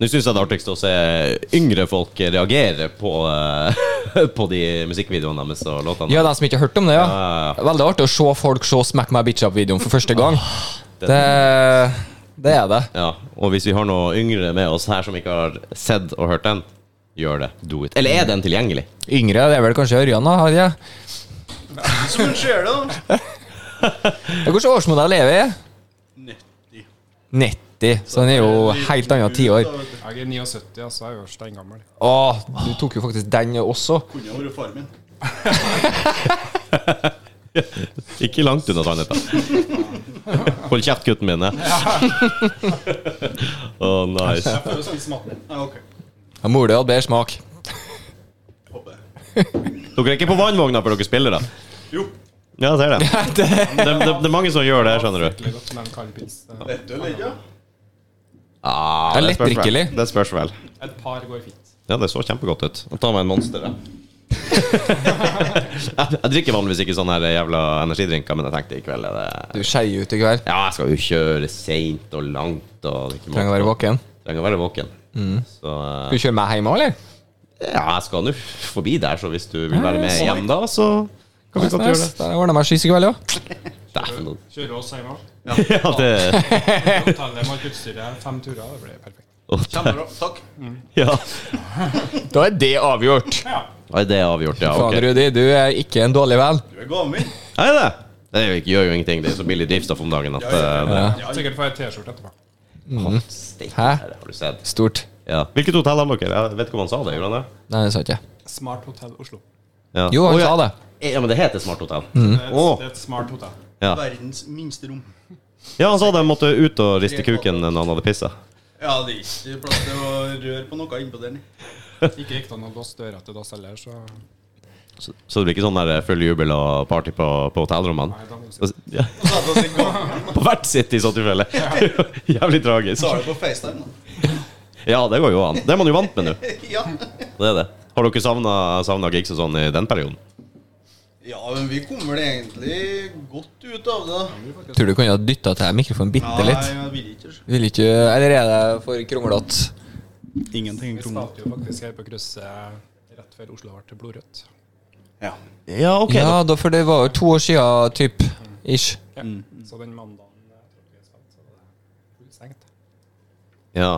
Nå syns jeg det er artigst å se yngre folk reagere på, eh, på de musikkvideoene deres og låtene. Ah,
Ja, de som ikke har hørt om det, ja.
Ja, ja,
Veldig artig å se folk se Smack My Bitch Up-videoen for første gang.
det-
Det, det er det.
Ja, og hvis vi har noen yngre med oss her som ikke har sett og hørt den, gjør det. Do it. Eller er den tilgjengelig?
Yngre det er vel kanskje Ørjan, da? Har jeg.
Så hun ser det, da.
Hvilken årsmodell er vi i?
90.
90. Så den er jo helt annet tiår.
Jeg er 79, altså. Jeg er jo steingammel.
Å, du tok jo faktisk den også.
Kunne ha vært far min.
Ikke langt unna sannheten. Hold kjeft, gutten min. Å, oh, nice.
Jeg får jo sånn smatten. Ja, ok.
Ja, Mor di hadde bedre smak.
Håper jeg.
Dere er ikke på vannvogna før dere spiller, da?
Jo.
Ja, jeg ser det. Det, det. det er mange som gjør det, skjønner du.
Skikkelig godt med en kald pils. Eh,
Vet du eller ikke?
Ah,
Det er
spørs vel.
lettdrikkelig.
Det spørs vel.
Et par går fint.
Ja, det så kjempegodt ut. Jeg tar meg en monster, jeg. jeg jeg drikker vanligvis ikke sånne her jævla energidrinker, men jeg tenkte i kveld er det
Du skeier ut i kveld.
Ja, jeg skal jo kjøre seint og langt og det er ikke
Trenger å
måte
være
på.
våken.
Trenger å være våken. Så eh,
Skal du kjøre meg hjem òg, eller?
ja, jeg skal nå forbi der, så hvis du vil være med hjem da, så kan vi
Nice,
godt gjøre
nice.
det.
Da ordner jeg meg skyss i kveld òg.
Dæven.
Kjører oss hjem òg.
Ja, det
Hotellet med alt utstyret. Fem turer, det blir perfekt.
Kjempebra. Takk.
Ja.
Da er det avgjort.
Nei, det er avgjort, ja.
Faen,
Ok.
Rudi, du er ikke en dårlig venn.
Du er gaven min.
Nei, det. Det er jo ikke- gjør jo ingenting. Det er så billig drivstoff om dagen at eh,
Ja,
Sikkert får jeg T-skjorte etterpå.
Å, steik,
Hæ?
det har du sett.
Stort.
Ja. Hvilket hotell har dere? Jeg vet ikke om han sa det, gjorde han det?
Nei, det sa jeg ikke
Smart Hotel Oslo.
Ja.
Jo, han
Å, ja.
sa det.
Ja, men det heter Smart Hotel.
Det er, et,
Åh.
det er et smart hotell.
Ja.
Verdens minste rom.
ja, han sa de måtte ut og riste kuken når han hadde pissa.
Ja, det er ikke plass til å røre på noe innpå der. nei.
Ikke riktig han har låst døra til dass heller, så
Så, så det blir ikke sånn der full jubel og party på, på hotellrommene?
Nei, da må vi
Altså, Ja,
Og satt oss i gangen.
på hvert sitt i så tilfelle. Jævlig
Så har
tragisk.
det på FaceTime, da.
Ja, det går jo an. Det er man jo vant med nå.
Ja.
Det er det. Har dere savna- savna gigs og sånn i den perioden?
ja, men vi kom vel egentlig godt ut av det.
Tror du kunne ha dytta til mikrofonen bitte
Nei,
litt?
jeg vil ikke.
Vil ikke Eller er det for kronglete?
Ingenting
Vi startet jo faktisk her på krysset eh, rett før Oslo ble til blodrødt.
Ja.
Ja, ok.
Ja, da, for det var jo to år siden, typ. Ish.
Ja.
Mm.
Så den mandagen eh, tror jeg vi spilte, så var det fullstengt.
Ja.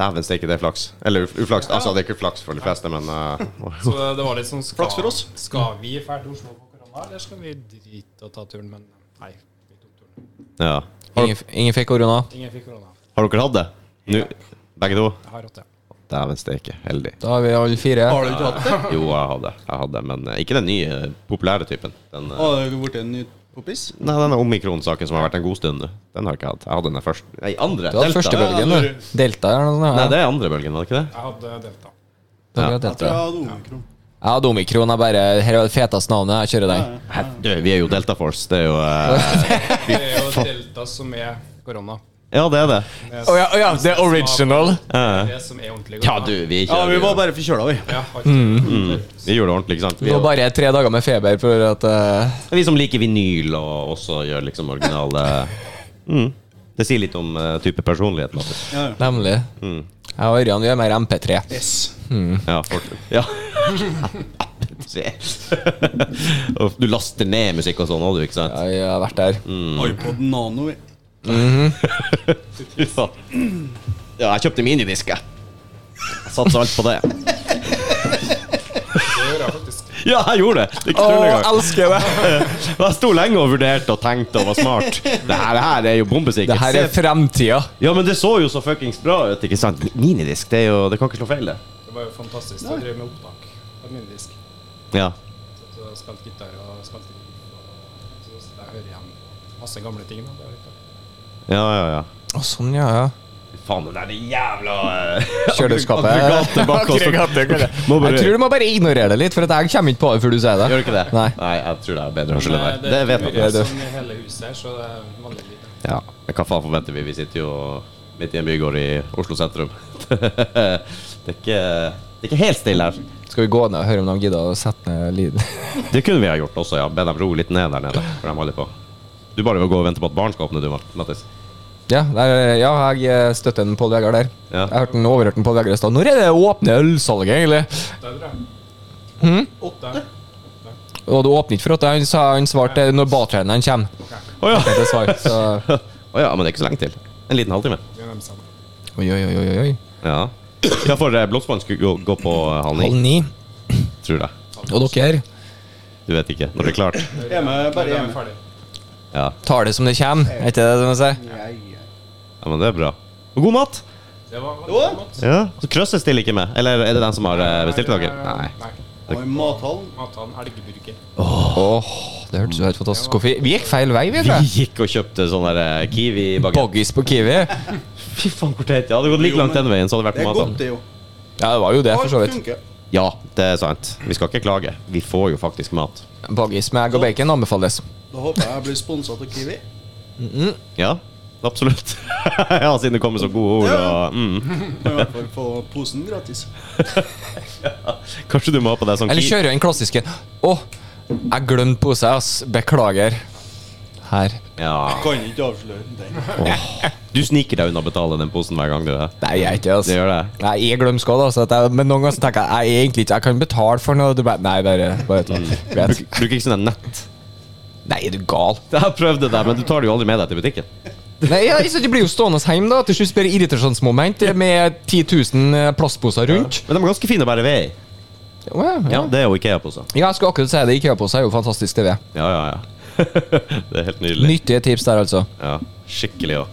Dæven steike, det er flaks. Eller uf- uflaks. Altså, det er ikke flaks for de fleste, men eh,
Så det var litt sånn skal,
Flaks for oss.
Skal vi dra til Oslo på korona, eller skal vi drite og ta turen? Men nei, vi tok turen.
Ja. Har,
Ingen, ingen fikk korona.
Ingen fikk korona.
har dere hatt det? Nu, begge to?
Jeg har hatt det.
Dæven steike. Heldig.
Da har vi alle fire.
Har du ikke hatt det?
Jo, jeg hadde jeg hadde, men eh, ikke den nye eh, populære typen. Den, eh,
Har du blitt en ny poppis?
nei, denne omikron-saken som har vært en god stund, den har jeg ikke hatt. Jeg hadde den først. Nei, andre.
Du hadde første bølgen,
Ja,
du. Delta eller noe
Nei,
sånt?
det er andre bølgen, var det ikke det?
Jeg hadde delta.
Ja, det var
Jeg tror
delta.
jeg hadde omikron.
Ja, Domikron er bare Her er det feteste navnet. Jeg kjører den.
Du, vi er jo Delta Force. Det er jo eh,
Det er jo delta som er korona.
Ja, det er det.
Å ja, å ja, det er original.
Det er det som er ordentlig
Ja,
korona.
du, Mm. vi er ikke
Ja, vi var bare forkjøla, vi.
Ja, har ikke-
Vi gjorde det ordentlig, ikke sant? Vi,
Det var bare tre dager med feber for at eh,
vi som liker vinyl og også gjør liksom originale mm. Det sier litt om eh, type personlighet. Mattis.
Ja, ja.
Nemlig.
Mm.
Jeg og Ørjan vi er mer MP3.
Yes.
Ja, fort. Ja. Se. Og du laster ned musikk og sånn òg, du, ikke sant?
Ja, jeg har vært der.
Mm.
Mm.
iPod Nano, vi.
Fy faen. Ja, jeg kjøpte minidisk, jeg. Jeg Satsa alt på det.
det gjør jeg faktisk.
Ja, jeg gjorde det! Det er ikke
Å,
tull engang.
elsker det!
Jeg sto lenge og vurderte og tenkte og var smart. Det her, det her er jo bombesikkert.
Det her er
Se-
fremtida.
Ja, men det så jo så fuckings bra ut, ikke sant? Minidisk, det, er jo, det kan ikke slå feil, det.
Det var jo fantastisk å drive med opptak på min disk.
Ja.
Så jeg spilte gitar og spilte riff, og så sitter jeg og hører igjen masse gamle ting. Da. Det er litt artig.
Ja, ja, ja.
Å, sånn, ja, ja.
Fy Faen, det der det jævla eh,
Kjøleskapet.
aggregatet bak oss.
Aggregatet, kanskje.
Må bare-
Jeg tror du må bare ignorere det litt, for at jeg kommer ikke på det før du sier
Gjør
det.
du ikke det?
Nei.
jeg tror det er bedre hørsel enn
Men,
det. Det vet
Det
man.
Ja,
er
det-
sånn i hele huset her, så det er veldig lite.
Ja. Men hva faen forventer vi? Vi sitter jo midt i en bygård i Oslo sentrum. det, er ikke, det er ikke helt stille her.
Skal vi gå ned og høre om de gidder å sette ned lyden?
Det kunne vi ha gjort også, ja. Be dem roe litt ned der nede, for de holder på. Du bare må gå og vente på at barn skal åpne, du, Mattis.
Ja, der, ja jeg eh, støtter en Pål Vegard der.
Ja.
Jeg hørte den overhørte en Pål Vegard i stad. Når er det åpne ølsalget, egentlig?
Åtte, tror jeg. Åtte?
Og det åpner ikke for at han, sa, han svarte når bartenderen kommer.
Å ja.
Det er svar, så
Å ja, men det er ikke så lenge til. En liten halvtime.
Vi nærmer oss sammen.
Oi, oi, oi. oi, oi.
Ja. Ja, for eh, Blåsvann skulle gå, gå på eh, halv
Halv
ni,
ni.
tror jeg.
Og dere
Du vet ikke når det er klart.
Hjemme, bare
Da er vi
hjemme.
ferdig.
Ja,
tar det som det kommer, er ikke det det man sier?
ja men det er bra. Og god mat!
Det var veldig
Jo.
godt.
Ja. Så Krøsset stiller ikke med. Eller er det den som har eh, bestilt
Nei,
dere? Nei.
Nei.
Og i mathallen
Mathallen elgburger.
Åh, det hørtes jo helt fantastisk ut. Vi vi gikk feil vei, vi,
Vi
tror jeg.
gikk og kjøpte sånn der eh, Kiwi-bagett.
Boggis på Kiwi.
Fy faen, hvor teit. Ja, det hadde gått like langt den veien, så hadde det
Det
vært
er godt,
mat.
det, jo.
Ja, det var jo det, for så
Alt
vidt.
funker.
Ja, det er sant. Vi skal ikke klage. Vi får jo faktisk mat.
Baggis med egg og bacon anbefales.
Da håper jeg jeg blir sponsa av Kiwi.
Ja, absolutt. ja, siden det kommer så gode ord og mm.
Kan i hvert fall få posen gratis.
Kanskje du må ha på deg sånn
Eller
Kiwi
kjører jeg den klassiske Å, jeg glemte pose, ass. Beklager. Her.
Ja.
Kan ikke avsløre den.
Du sniker deg unna å betale den posen hver gang, du. eh.
Nei, jeg er ikke ass.
Det gjør det.
Nei, jeg er glømsk også, da, så at jeg, men noen ganger så tenker jeg jeg er egentlig ikke Jeg kan betale for noe. og Du bare Nei, bare, bare
Mm.
et eller
Bruk,
annet.
bruker ikke sånn nett.
Nei, er du gal?
Jeg prøvde det, men du tar det jo aldri med deg til butikken.
Nei, ja, så De blir jo stående hjemme, da. Til slutt blir det irritasjonsmoment med 10 000 plastposer rundt.
Men de er ganske fine å bære ved i.
Ja, ja.
Ja, det er jo Ikea-poser.
ja, jeg skulle akkurat si det. Ikea-pose er jo fantastisk TV.
Ja, ja, ja. det er helt nydelig.
Nyttige tips der, altså.
Ja, skikkelig òg.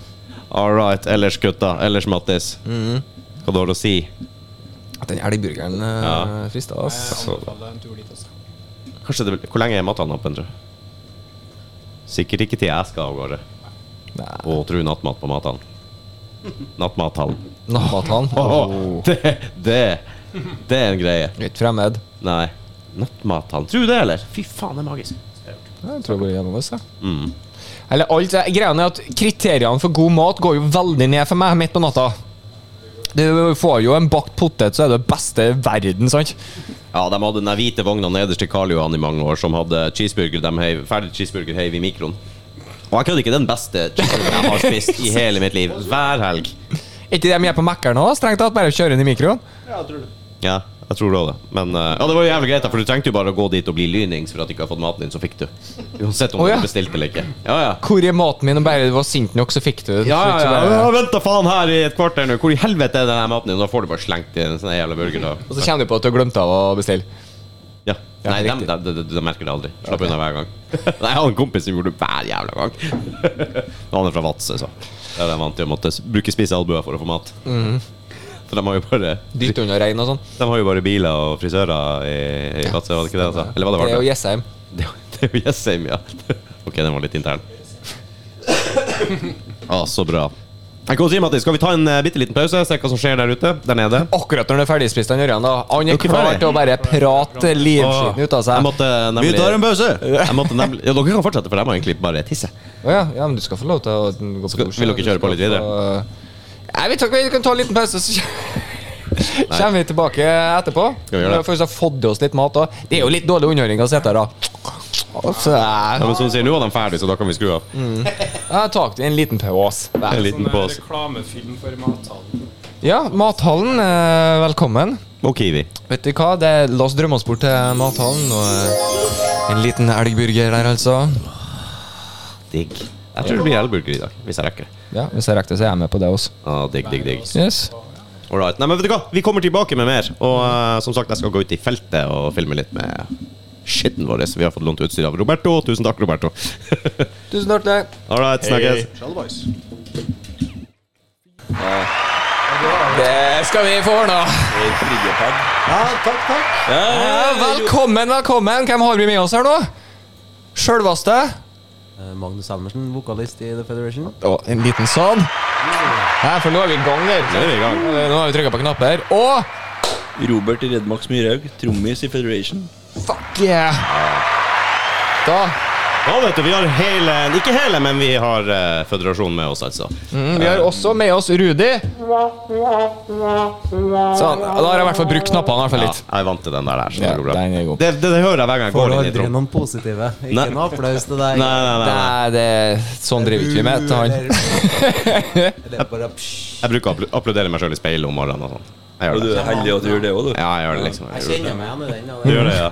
All right. Ellers, gutta. Ellers, Mattis. Hva du har å si
Den elgburgeren ja.
Ja.
frista Sånn, oss.
Jeg
så-
anbefaler en tur dit også.
Kanskje det, blir- Hvor lenge er mattene åpne, tror du? Sikkert ikke til jeg skal av gårde.
Nei.
Og tro nattmat på matene. Nattmathallen.
Nattmathall.
Åh, det, det, det er en greie.
Litt fremmed.
Nei. Nattmathallen. Tror du det, eller? Fy faen, det er magisk.
Ja, Jeg tror jeg går gjennom det. så.
Mm.
Eller alt det- Greia er at kriteriene for god mat går jo veldig ned for meg midt på natta. Du får jo en bakt potet, så er det beste i verden, sant?
Ja, de hadde den der hvite vogna nederst til Karl Johan i mange år, som hadde cheeseburger de heiv, ferdig cheeseburger heiv i mikroen. Og jeg kødder ikke, den beste cheeseburgeren jeg har spist i hele mitt liv. Hver helg.
Ikke det de gjør på Mækkern òg, strengt tatt. Bare kjøre den i mikroen.
Ja, jeg tror det også det. Men eh, ja, det var jo jævlig greit, da, for du trengte jo bare å gå dit og bli lynings for at du ikke har fått maten din, så fikk du. Uansett om
Å, ja.
du bestilte eller ikke. Ja, ja.
Hvor er maten min? Og bare du var sint nok, så fikk du det. til
Ja,
slutt,
ja,
så
ja.
bare-
Jeg har ventet faen her i et kvarter nå. Hvor i helvete er den her maten din? Da får du bare slengt i en sånn jævla burger.
Og
Da.
så kommer du på at du har glemt av å bestille.
Ja.
Ja,
Nei, de,
riktig.
de, de, de merker det aldri. Slapp unna hver gang. Nei, jeg hadde en kompis som gjorde det hver jævla gang. Han er fra Vadsø, så. Der er de vant til å måtte s- bruke spisse albuer for å få mat.
Mhm.
For de har jo bare
Dytte under regn og sånn.
De har jo bare biler og frisører i, i Vadsø, var det ikke det? Altså? Eller var det
Det er jo
Vardø?
Jessheim.
Det er jo- det er jo Jessheim, ja. Ok, den var litt intern. Ja, så bra. Jeg kan jo si, Mattis, Skal vi ta en uh, bitte liten pause, se hva som skjer der ute? Der nede?
Akkurat når han er ferdigspist, han Ørjan, da. Han er
Dere
klar
ferdig?
til å bare prate livskiten ut av
Jeg
seg. Å
måtte nemlig,
pause!
Jeg måtte nemlig Ja, dere kan fortsette, for jeg må egentlig bare tisse.
ja, ja, men du skal få lov til å gå på
Skal-
dusj,
vil
da.
dere
Du
kjøre
skal
på litt videre?
få- Nei, vi, tar, vi kan ta en liten pause, så kommer vi tilbake etterpå.
Skal vi gjøre det?
For hvis vi har fått i oss litt mat da. Det er jo litt dårlig underholdning å sitte her, da. Altså,
Ja,
jeg
men som du sier, nå var de ferdige, så da kan vi skru av.
jeg tar en liten pause.
En
Der.
liten
Sånn eh,
pause.
reklamefilm for mathallen.
Ja, Mathallen, eh, velkommen.
Og Kiwi.
Vet du hva, det la oss drømme oss bort til mathallen og eh, en liten elgburger der, altså.
Digg. Jeg tror det blir elburger i dag, hvis jeg rekker det.
Ja, Hvis jeg rekker det, så er jeg med på det også.
Ah, digg, digg, digg.
Yes.
All right. Nei, men vet du hva? Vi kommer tilbake med mer. Og eh, som sagt, jeg skal gå ut i feltet og filme litt med skitten vår. Vi har fått lånt utstyr av Roberto. Tusen takk, Roberto.
Tusen hjertelig.
All right, snakkes.
Shalboys.
Det skal vi få ordna. Ja, velkommen, velkommen. Hvem har vi med oss her nå? Sjølvaste?
Magnus Helmersen, vokalist i The Federation.
En liten sånn. Nei, for nå er vi i gang der. Eh,
Nå er vi i gang.
Nå har vi trykka på knapper. Og
Robert Redmax Myrhaug, trommis i Federation.
fuck yeah! Da
Ja, vet du, vi har hele Ikke hele, men vi har eh, føderasjonen med oss, altså.
mm, Vi har også med oss Rudi. Sånn. Da har jeg i hvert fall brukt knappene i hvert fall
Ja,
litt.
jeg er vant til den der. der så
Ja,
det, går bra.
den er god.
Det, det, det hører jeg hver gang jeg
Får
går inn i et
aldri
rom.
noen positive. Ikke
Nei.
noe applaus til deg.
Nei, nei, nei, nei.
Nei, det, sånn driver ikke vi med. til han.
Eller- Eller bare psj.
Jeg bruker å appl- applaudere meg sjøl i speilet om morgenen og sånn. Jeg
Og
gjør
du
det.
er heldig at du gjør det òg, du.
Ja, jeg gjør det liksom.
Jeg
Jeg gjør det.
kjenner meg igjen i den. ja,
Du
det.
gjør det, ja.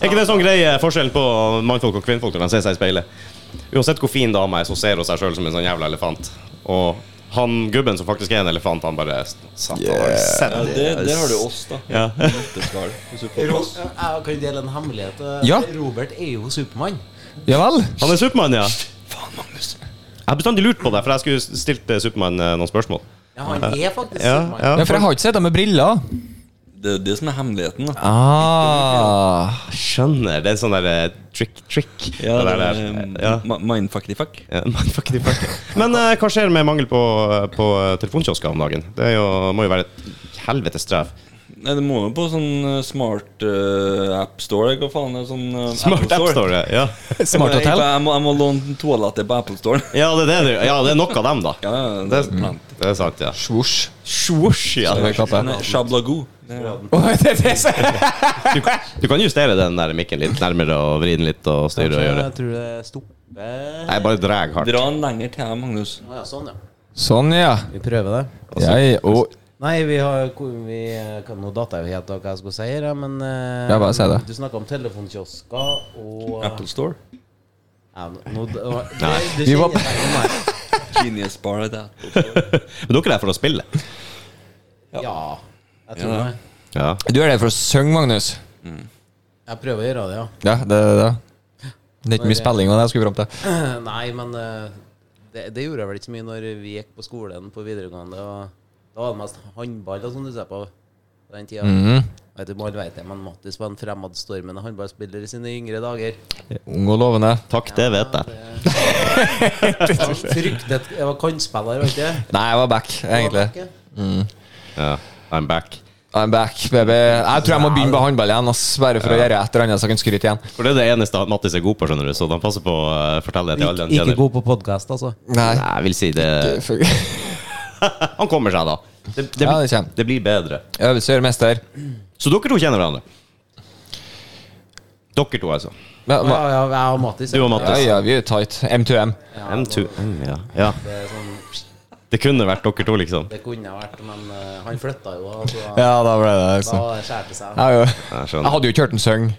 Er ikke det sånn greie forskjellen på mannfolk og kvinnfolk når de ser seg i speilet? Uansett hvor fin dama er, så ser hun seg sjøl som en sånn jævla elefant. Og han gubben som faktisk er en elefant, han bare Satan, har du sett
Ja, det, der har du oss, da.
Ja.
Nøtteskall. Hvis du får oss.
Jeg kan dele en hemmelighet.
Ja.
Robert er jo Supermann.
Ja vel?
Han er Supermann, ja. Jeg har bestandig lurt på det, for jeg skulle stilt eh, Supermann eh, noen spørsmål.
Ja, han er faktisk
Ja,
Supermann.
ja.
Ja, for jeg har ikke sett deg med briller.
Det er det som er hemmeligheten, da.
Ah.
Skjønner. Det er en sånn der eh, trick, trick.
Ja, det
det der,
er,
der.
um,
Ja.
ma- Mindfuckity-fuck.
Ja, men fuck it, fuck it. Men eh, hva skjer med mangel på, eh, på telefonkiosker om dagen? Det er jo, må jo være et helvetes strev.
Nei, det må jo på sånn eh, smart eh, app store, eller hva faen det er sånn eh,
Smart
Apple
App Store. Ja.
Smart
Jeg-
hotell.
Jeg må, jeg må låne toalettet på Apple Store.
Ja, det er det du Ja, det er nok av dem, da.
Ja, ja,
Det,
det
det er sant, ja.
Svosj.
Swoosh, ja.
Det er kappe.
Nei, Shablago. Det er-
Åh, det er det som-
Du, du kan justere den der mikken litt nærmere og vri den litt og styre og gjøre.
Jeg tror det stopper
Nei, bare drag hardt.
Dra den lenger til, Magnus.
Å ja, sånn, ja.
Sånn, ja.
Vi prøver det.
Jeg og
Nei, vi har hvor- vi, eh, kan- Nå datt jeg jo helt av hva jeg skulle si her, ja, men eh,
Ja, bare si det.
Du snakka om telefonkiosker og
Apple Store.
Ja, nå, det, var- det,
Nei.
det
Vi var-
kjenner jeg igjen, nei.
Genius Bar. Det.
Men dere er her for å spille.
Ja, jeg tror
Ja.
det.
Ja.
Du er der for å synge, Magnus.
Jeg prøver å gjøre det, ja.
Ja, det er det. Det er ikke mye spilling av det jeg skulle fram til.
Nei, men eh, det, det gjorde jeg vel ikke så mye når vi gikk på skolen på videregående. Og da var det mest håndball og sånn du ser på. på den tida.
Mhm.
Jeg vet ikke om alle vet det, men Mattis var en fremadstormende håndballspiller i sine yngre dager.
Ung og lovende.
Takk, det vet jeg.
Han fryktet Jeg var kantspiller, var ikke det?
Nei, jeg var back, egentlig.
Ja, I'm back.
I'm back, baby. Jeg tror jeg må begynne med håndball igjen, ass. bare for å gjøre et eller annet så jeg kan skryte igjen.
For det er det eneste han- Mattis er god på, skjønner du, så han passer på å eh, fortelle det til alle
Ikke,
han
ikke
kjenner.
god på podkast, altså.
Nei.
Nei, jeg vil si det Han kommer seg, da. Det, det,
Ja, det kommer.
det blir bedre.
Øvelse gjør mester.
Så dere to kjenner hverandre? Dere to, altså.
Ja,
Ja,
hva-
ja, jeg og Mattis.
Du og
ja,
Mattis.
ja, vi er tight. M2M.
Ja,
M2, mm, ja. ja.
Det, er sånn,
Det kunne vært dere to, liksom.
det kunne vært, men eh, han flytta jo. Altså,
Ja, da ble det liksom.
Da skjærte det seg.
Jeg, er jo,
Jeg
jeg
skjønner.
hadde jo ikke hørt den synge.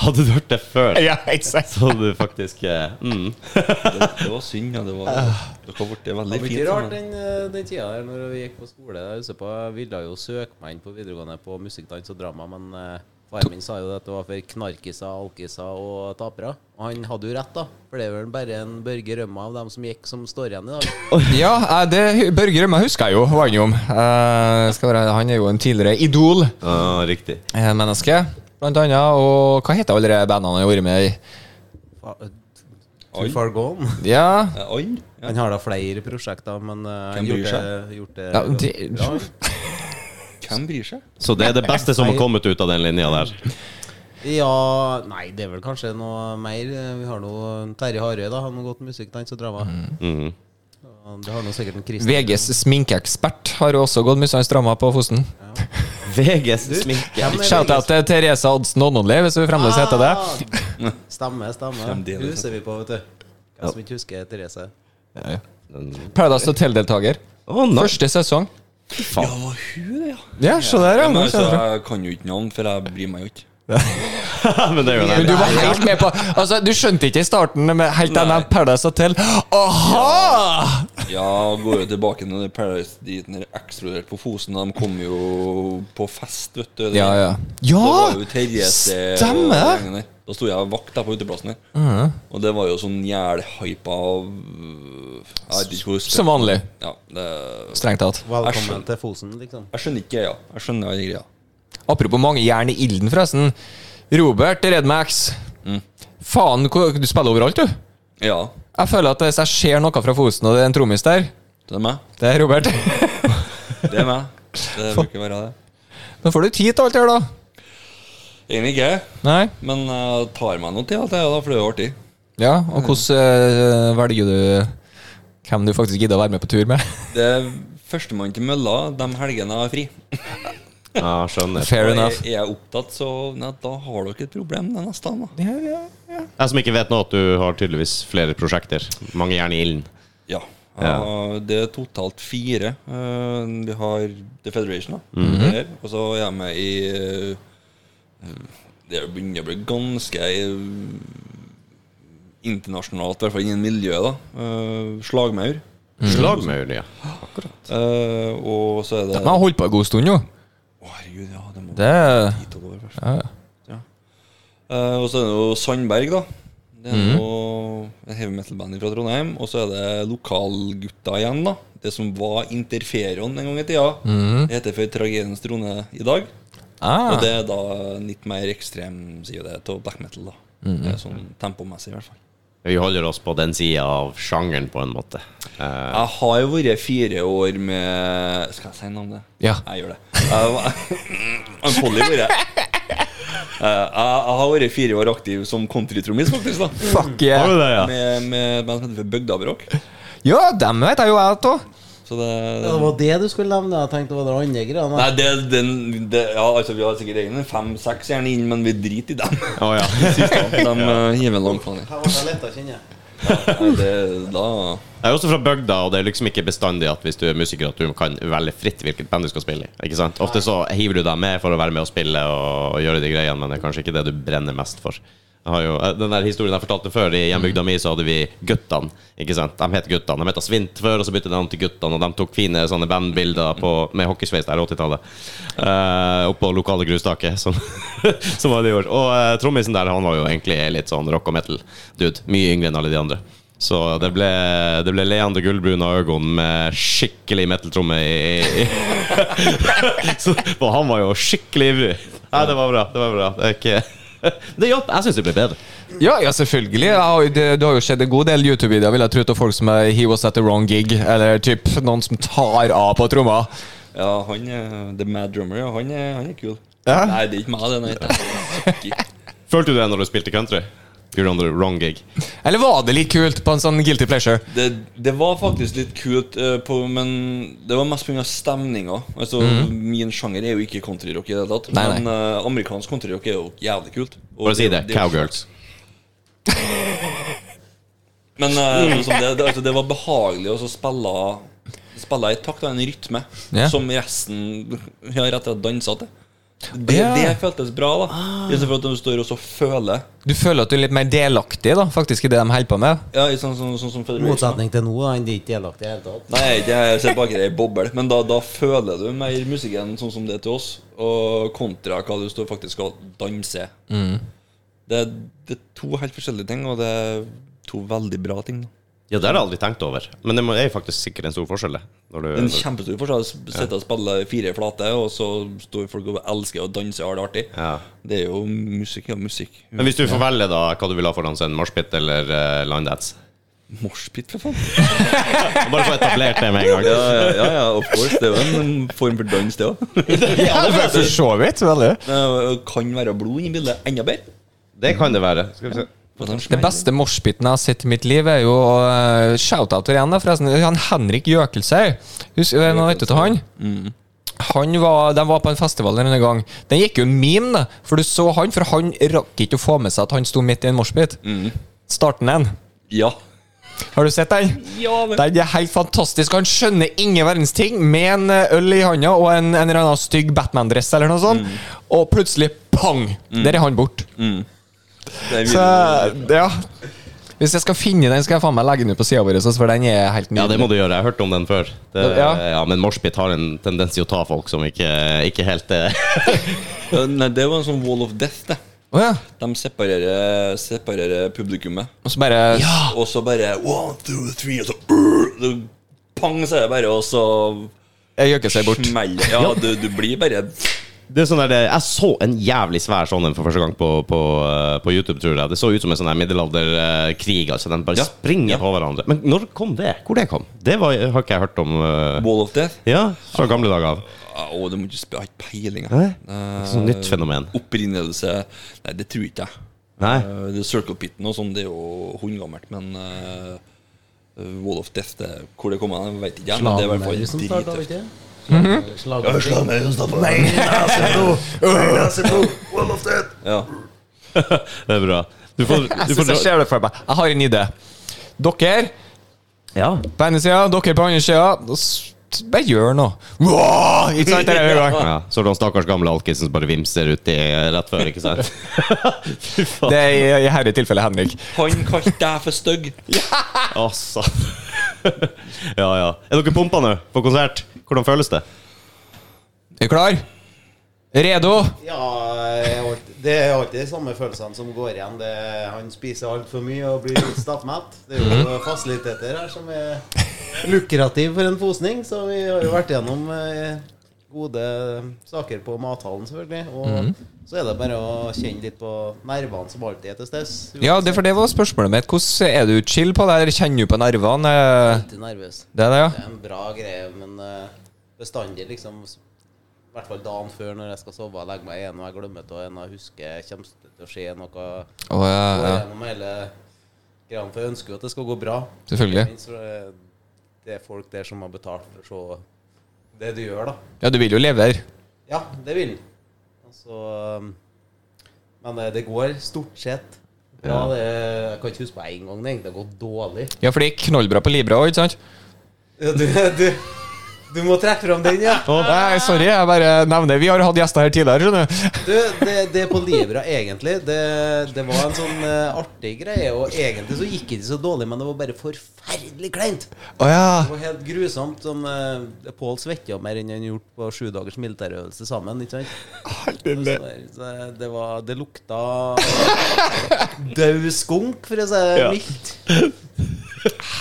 Hadde du hørt det før,
Ja, exakt.
så hadde du faktisk eh, mm.
Det var synd, ja. Det var det har blitt
Det
veldig
var
fint.
ikke rart
for meg.
den, eh, den tida der når vi gikk på skole. Jeg husker på, jeg ville jo søke meg inn på videregående på musikk, dans og drama, men eh, faren min sa jo at det var for knarkiser, alkiser og tapere. Og han hadde jo rett, da. For det er vel bare en Børge Rømme av dem som gikk, som står igjen i dag.
Ja, eh, det Børge Rømme husker jeg jo var han jo om. Eh, skal være, han er jo en tidligere idol-menneske.
ah, Riktig.
Blant annet, og hva heter alle de bandene han har vært med i?
Fa- eh, Too far gone.
Ja,
Eh, And? Ja.
Han har da flere prosjekter, men eh, han
Hvem bryr
gjorde,
seg?
gjort det
Ja, det-
bra.
Hvem bryr seg?
Så det er det beste som har kommet ut av den linja der.
Ja Nei, det er vel kanskje noe mer. Vi har nå Terje Harøy, da. Han har gått musikk, dans og drama.
Mhm.
Mm. Ja, Det har nå sikkert en Christian.
VGs sminkeekspert har jo også gått mye sånn stramma på foten.
VGs sminke.
Hvem er
Shout-out til Therese Odsen Ononli, hvis hun fremdeles heter det.
Ah, Stemmer, stemmer.
Fremdeles.
Hun ser vi på, vet du. Hvem som ikke husker Therese.
Paradise Hotel-deltaker.
Å, nei.
Første sesong.
Ja, det var hun, det, ja.
Ja, se der, ja.
Men
Nå
altså,
kjenner jeg.
jeg kan jo ikke navn, for jeg bryr meg jo ikke.
Men det er jo
Men
det.
du var helt med på Altså, du skjønte ikke i starten med helt den der Paradise Hotel. Aha!
Ja, går jo tilbake til den Paradise-driten der eksploderte på Fosen. De kom jo på fest, vet du.
Ja, ja.
Da
Ja!
var jo eh, Therese og
stemmer. Uh-huh.
gjengen der. Da sto jeg og vakt der på uteplassen der. Og det var jo sånn jævlhypa av Jeg vet ikke hvor
Som vanlig.
Ja, det,
Strengt tatt.
Jeg
Velkommen
skjønner.
til Fosen, liksom.
jeg skjønner ikke greia. Jeg skjønner aldri greia.
Apropos mange jern i ilden, forresten. Robert i Red Max.
Mm.
Faen, hvor- du spiller overalt, du.
Ja,
Jeg føler at hvis jeg ser noe fra Fosen, og det er en trommis der,
det er meg.
det er Robert.
Det er meg. Det bør ikke være det.
Nå får du tid til alt det her, da.
Egentlig ikke.
Nei?
Men jeg tar meg noe til alt det, da, for det er jo artig.
Ja, og hvordan eh, velger du hvem du faktisk gidder å være med på tur med?
Det er førstemann til mølla de helgene jeg har fri.
Ja, skjønner.
Fair
Og er,
enough.
er jeg opptatt, så nei, da har dere et problem det neste dagen, da.
Jeg som ikke vet nå at du har tydeligvis flere prosjekter. Mange jern i ilden.
Ja. Ja, Det er totalt fire. Eh, Vi har The Federation, da. Der. Og så er jeg med i eh, Det begynner å bli ganske eh, internasjonalt, i hvert fall innen miljøet, da. Eh, Slagmaur.
Mm. Slagmaur, ja.
Eh, og så er det
Men jeg har holdt på en god stund nå.
Å, herregud, ja, det må
Det er
dit over først.
ja, ja.
Eh, og så er det jo Sandberg, da. Det
Mhm.
er noe et heavy metal-band fra Trondheim. Og så er det lokalgutta igjen, da. Det som var Interferon en gang i tida. Det heter for Tragediens trone i dag.
Mhm. ah,
Og det er da litt mer ekstrem side det til black metal, da.
Mhm.
Det er sånn tempomessig, i hvert fall.
Vi holder oss på den sida av sjangeren, på en måte. Eh,
Jeg har jo vært fire år med Skal jeg si noe om det?
Ja.
Jeg gjør det. Jeg var- Jeg får litt være. Eh, Jeg jeg har vært fire år aktiv som countrytrommis, faktisk. da
Fuck yeah.
det, ja?
med, med band som heter for Bygdabrok.
Ja, dem vet jeg jo jeg òg.
Så det,
Ja, det var det du skulle nevne. Jeg tenkte det var det andre greiene.
Nei, det, den, det Ja, altså, vi har sikkert egne fem-seks gjerne inn, men vi driter i dem.
Å, ja.
De eh, hiver en lang faen i.
Her ble det letta, kjenner jeg.
Nei, det- Da
Jeg er også fra bygda, og det er liksom ikke bestandig at hvis du er musiker, at du kan velge fritt hvilket band du skal spille i. Ikke sant? Ofte så hiver du deg med for å være med og spille og, og gjøre de greiene, men det er kanskje ikke det du brenner mest for. Jeg har jo, eh, den der historien jeg fortalte før, i hjembygda mi så hadde vi Guttan. Ikke sant? De het Guttan. De het Svint før, og så byttet de navn til Guttan, og de tok fine sånne bandbilder på, med hockeysveis der 80-tallet. eh, oppå lokale grustaket, som, som var det i år. Og eh, trommisen der, han var jo egentlig litt sånn rock og metal-dude. Mye yngre enn alle de andre. Så det ble, det ble leende gullbrune øyne med skikkelig metal-tromme i, i, Så, og han var jo skikkelig ivrig. Nei, det var bra. Det var bra Det er ikke Det hjalp. Jeg syns det ble bedre.
Ja, ja, selvfølgelig. Jeg har, jo- det, det har jo skjedd en god del YouTube-videoer vil jeg tro, av folk som er He was at the wrong gig, eller typ noen som tar av på tromma.
Ja, han er The Mad Drummer, ja. Han er, han er kul.
Ja.
Nei, det er ikke meg, det. Nei. det er-
Følte du det når du spilte country? You're on the wrong gig.
Eller var det litt kult på en sånn guilty pleasure?
Det, det var faktisk litt kult, eh, på, men det var mest pga. stemninga. Altså, Min sjanger er jo ikke countryrock i det hele tatt,
Mhm. Nei, nei.
men eh, amerikansk countryrock er jo jævlig kult. Og
Bare si det.
er jo-
Cowgirls.
Men eh, liksom, det, det, altså, det var behagelig å så spille Spille i takt og en rytme
Ja.
som resten ja, rett og slett dansa til. Det,
Ja. Ah.
det føltes bra, da. Istedenfor at de står og så føler.
Du føler at du er litt mer delaktig da, faktisk i det de holder på med?
Ja, i sånn, sånn, sånn, sånn
I
Federation.
motsetning til nå, da, han er ikke delaktig i det hele tatt.
Nei, jeg er ikke- jeg ser bak i ei boble, men da, da føler du mer musikken sånn som det er til oss, og kontra hva du står faktisk og danser. Det, er- det er to helt forskjellige ting, og det er to veldig bra ting. Da.
Ja, det har jeg aldri tenkt over. Men det må- er faktisk sikkert en stor forskjell. det, Når
Det er en
du,
kjempestor forskjell. Sitte og spille fire flate, og så står folk og elsker å danse og har det artig.
Ja.
Det er jo musikk, ja, musikk.
men hvis du får velge da hva du vil ha foran seg, en moshpit eller uh, line dance
Moshpit, for faen.
Bare få etablert det med en gang.
Ja, ja, ja, ja, of course. Det er jo en form for dans, det òg.
Ja, det For så vidt. veldig
eh, Kan være blod inni bildet. Enda bedre.
Det kan det være. Skal vi se.
Det beste moshpiten jeg har sett i mitt liv, er jo uh, shoutouter igjen, da, forresten. Han Henrik Jøkelsøy. eh, Husker du noe vet du til han? Han var, de var på en festival denne gang. Den gikk jo en meme, da, for du så han, for han rakk ikke å få med seg at han sto midt i en moshpit. Starten den.
Ja.
Har du sett den? Ja, Den er helt fantastisk. Han skjønner ingen verdens ting med en eh, øl i handa og en, en eller annen stygg Batman-dress eller noe sånt, og plutselig pang! Der er han borte.
Det er
Så,
videre.
ja. Hvis jeg skal finne den, skal jeg faen meg legge den ut på sida vår, så- for den er helt
Ja, det
nydelig.
må du gjøre. Jeg har hørt om den før. Det, ja.
Ja.
Men moshpit har en tendens til å ta folk som ikke, ikke helt eh, er
Ja, Nei, det var en sånn wall of death, det.
Å ja.
De separerer, separerer publikummet.
Og så bare
Og så bare one, two, three, og så øh, så Pang, så er det bare, og så
Jeg gjøker seg bort.
smeller Ja, du, du blir bare
Det er sånn der, Jeg så en jævlig svær sånn en for første gang på, på, eh, på YouTube, tror jeg. Det så ut som en sånn her middelalderkrig. Altså, den bare
Ja.
springer
Ja.
på hverandre. Men når kom det? Hvor det kom? Det var, har ikke jeg hørt om eh,
wall of death.
Ja, fra gamle dager av.
Å, du må ikke sp- Jeg har ikke peiling. jeg.
Nei?
Eh,
Sånn nytt fenomen.
Opprinnelse Nei, det tror ikke jeg.
Nei?
Eh, det Circle Pitten og sånn, det er jo hundegammelt, men eh, Wall of Death, det, hvor det kommer av, vet ikke jeg. Men det er i hvert fall
Slagmøller som starta,
drittøft.
vet du. Slagmøller- slagmøller.
Ja.
Det er bra. Du får, du
Jeg
får
synes jeg ser det for meg. Jeg har en idé. Dere
Ja.
på ene sida, dere på andre sida. og s- s- Bare gjør noe. Wow! Ikke sant? Det er det vi gjør.
ja. Så er det den stakkars gamle alkisen som bare vimser uti rett før, ikke sant? Fy faen.
Det er i- i dette tilfellet Henrik.
Han kalte deg for stygg.
Å, satan. ja, ja. Er dere pumpa nå, på konsert? Hvordan føles det?
Er du klar? Redo?
Ja, jeg har alltid- det er alltid de samme følelsene som går igjen. Det, er- han spiser altfor mye og blir litt stappmett. Det er jo fasiliteter her som er lukrative for en fosning, så vi har jo vært gjennom eh, gode saker på mathallen, selvfølgelig. Og
Mhm.
så er det bare å kjenne litt på nervene som alltid er til stede.
Ja, det, for det var spørsmålet mitt. Hvordan er du chill på det? her? Kjenner du på nervene? Eh,
Alltid nervøs.
Det er det, ja?
Det er en bra greie, men eh, bestandig liksom s- I hvert fall dagen før når jeg skal sove og legge meg igjen og jeg glemmer det, og en jeg husker kommer det til å skje noe
Å,
går
ja, ja.
gjennom hele greia, for jeg ønsker jo at det skal gå bra.
Selvfølgelig.
Ikke minst for det- Det er folk der som har betalt for å se det du gjør, da.
ja, du vil jo levere.
Ja, det vil han. Altså, um, men eh, det, det går stort sett bra. Det, jeg kan ikke huske på én gang det egentlig har gått dårlig.
Ja, for det gikk knallbra på Libra òg, ikke sant?
Ja, du, du, du må trekke fram den, ja.
Nei, sorry, jeg bare nevner Vi har hatt gjester her tidligere, skjønner du.
Du, det, det på Libra, egentlig, det, det var en sånn eh, artig greie. Og egentlig så gikk det ikke så dårlig, men det var bare forferdelig kleint.
Å ja.
Det var helt grusomt. Sånn, eh, Pål svetta mer enn han gjorde på sju dagers militærøvelse sammen. ikke sant? Så der, så det, var, det lukta død skunk, for å si det mildt.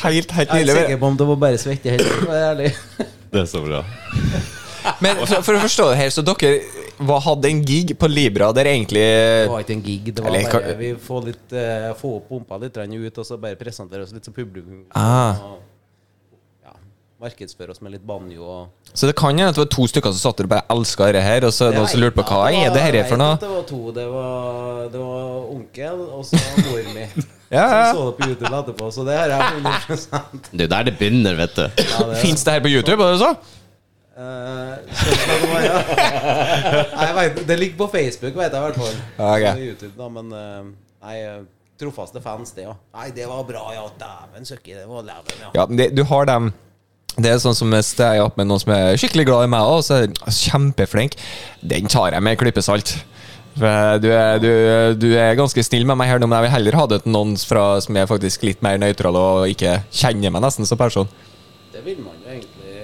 Helt, helt
Jeg er ikke
nydelig.
sikker på om det var bare svette heller, for å være ærlig.
Det er så bra.
Men for, for å forstå det her, så dere var, hadde en gig på Libra der egentlig
Det var ikke en gig. Det var
Eller,
bare
kan-
vi får litt, eh, få opp pumpa litt grann ut, og så bare presentere oss litt som publikum.
Ah.
Og, ja, markedsføre oss med litt banjo og
Så det kan hende at det var to stykker som satt der og bare elska dette her, og så er det noen som lurte på hva er det her
Jeg
for
vet at
noe?
Det var to. Det var, det var onkel og så mor mi.
Ja, ja.
Som så det på YouTube etterpå, så det har jeg 100
Det er jo der det begynner, vet du.
ja, det-
Fins det her på YouTube? Er det så?
Eh, skjønner du hva det var, ja. Nei, jeg vet, det ligger på Facebook, vet jeg i hvert fall.
Ja, ok.
Så det er YouTube, da, men eh, nei, eh, trofaste fans, det, ja. Nei, det var bra, ja. Dæven søkki, det var leven, ja.
Ja, men det, du har dem Det er sånn som hvis jeg er opp med noen som er skikkelig glad i meg også, så er den kjempeflink. Den tar jeg med en klype salt. For Du er, du, du er ganske snill med meg her nå, men jeg vil heller ha det til noen fra, som er faktisk litt mer nøytral og ikke kjenner meg nesten som person.
Det vil man jo egentlig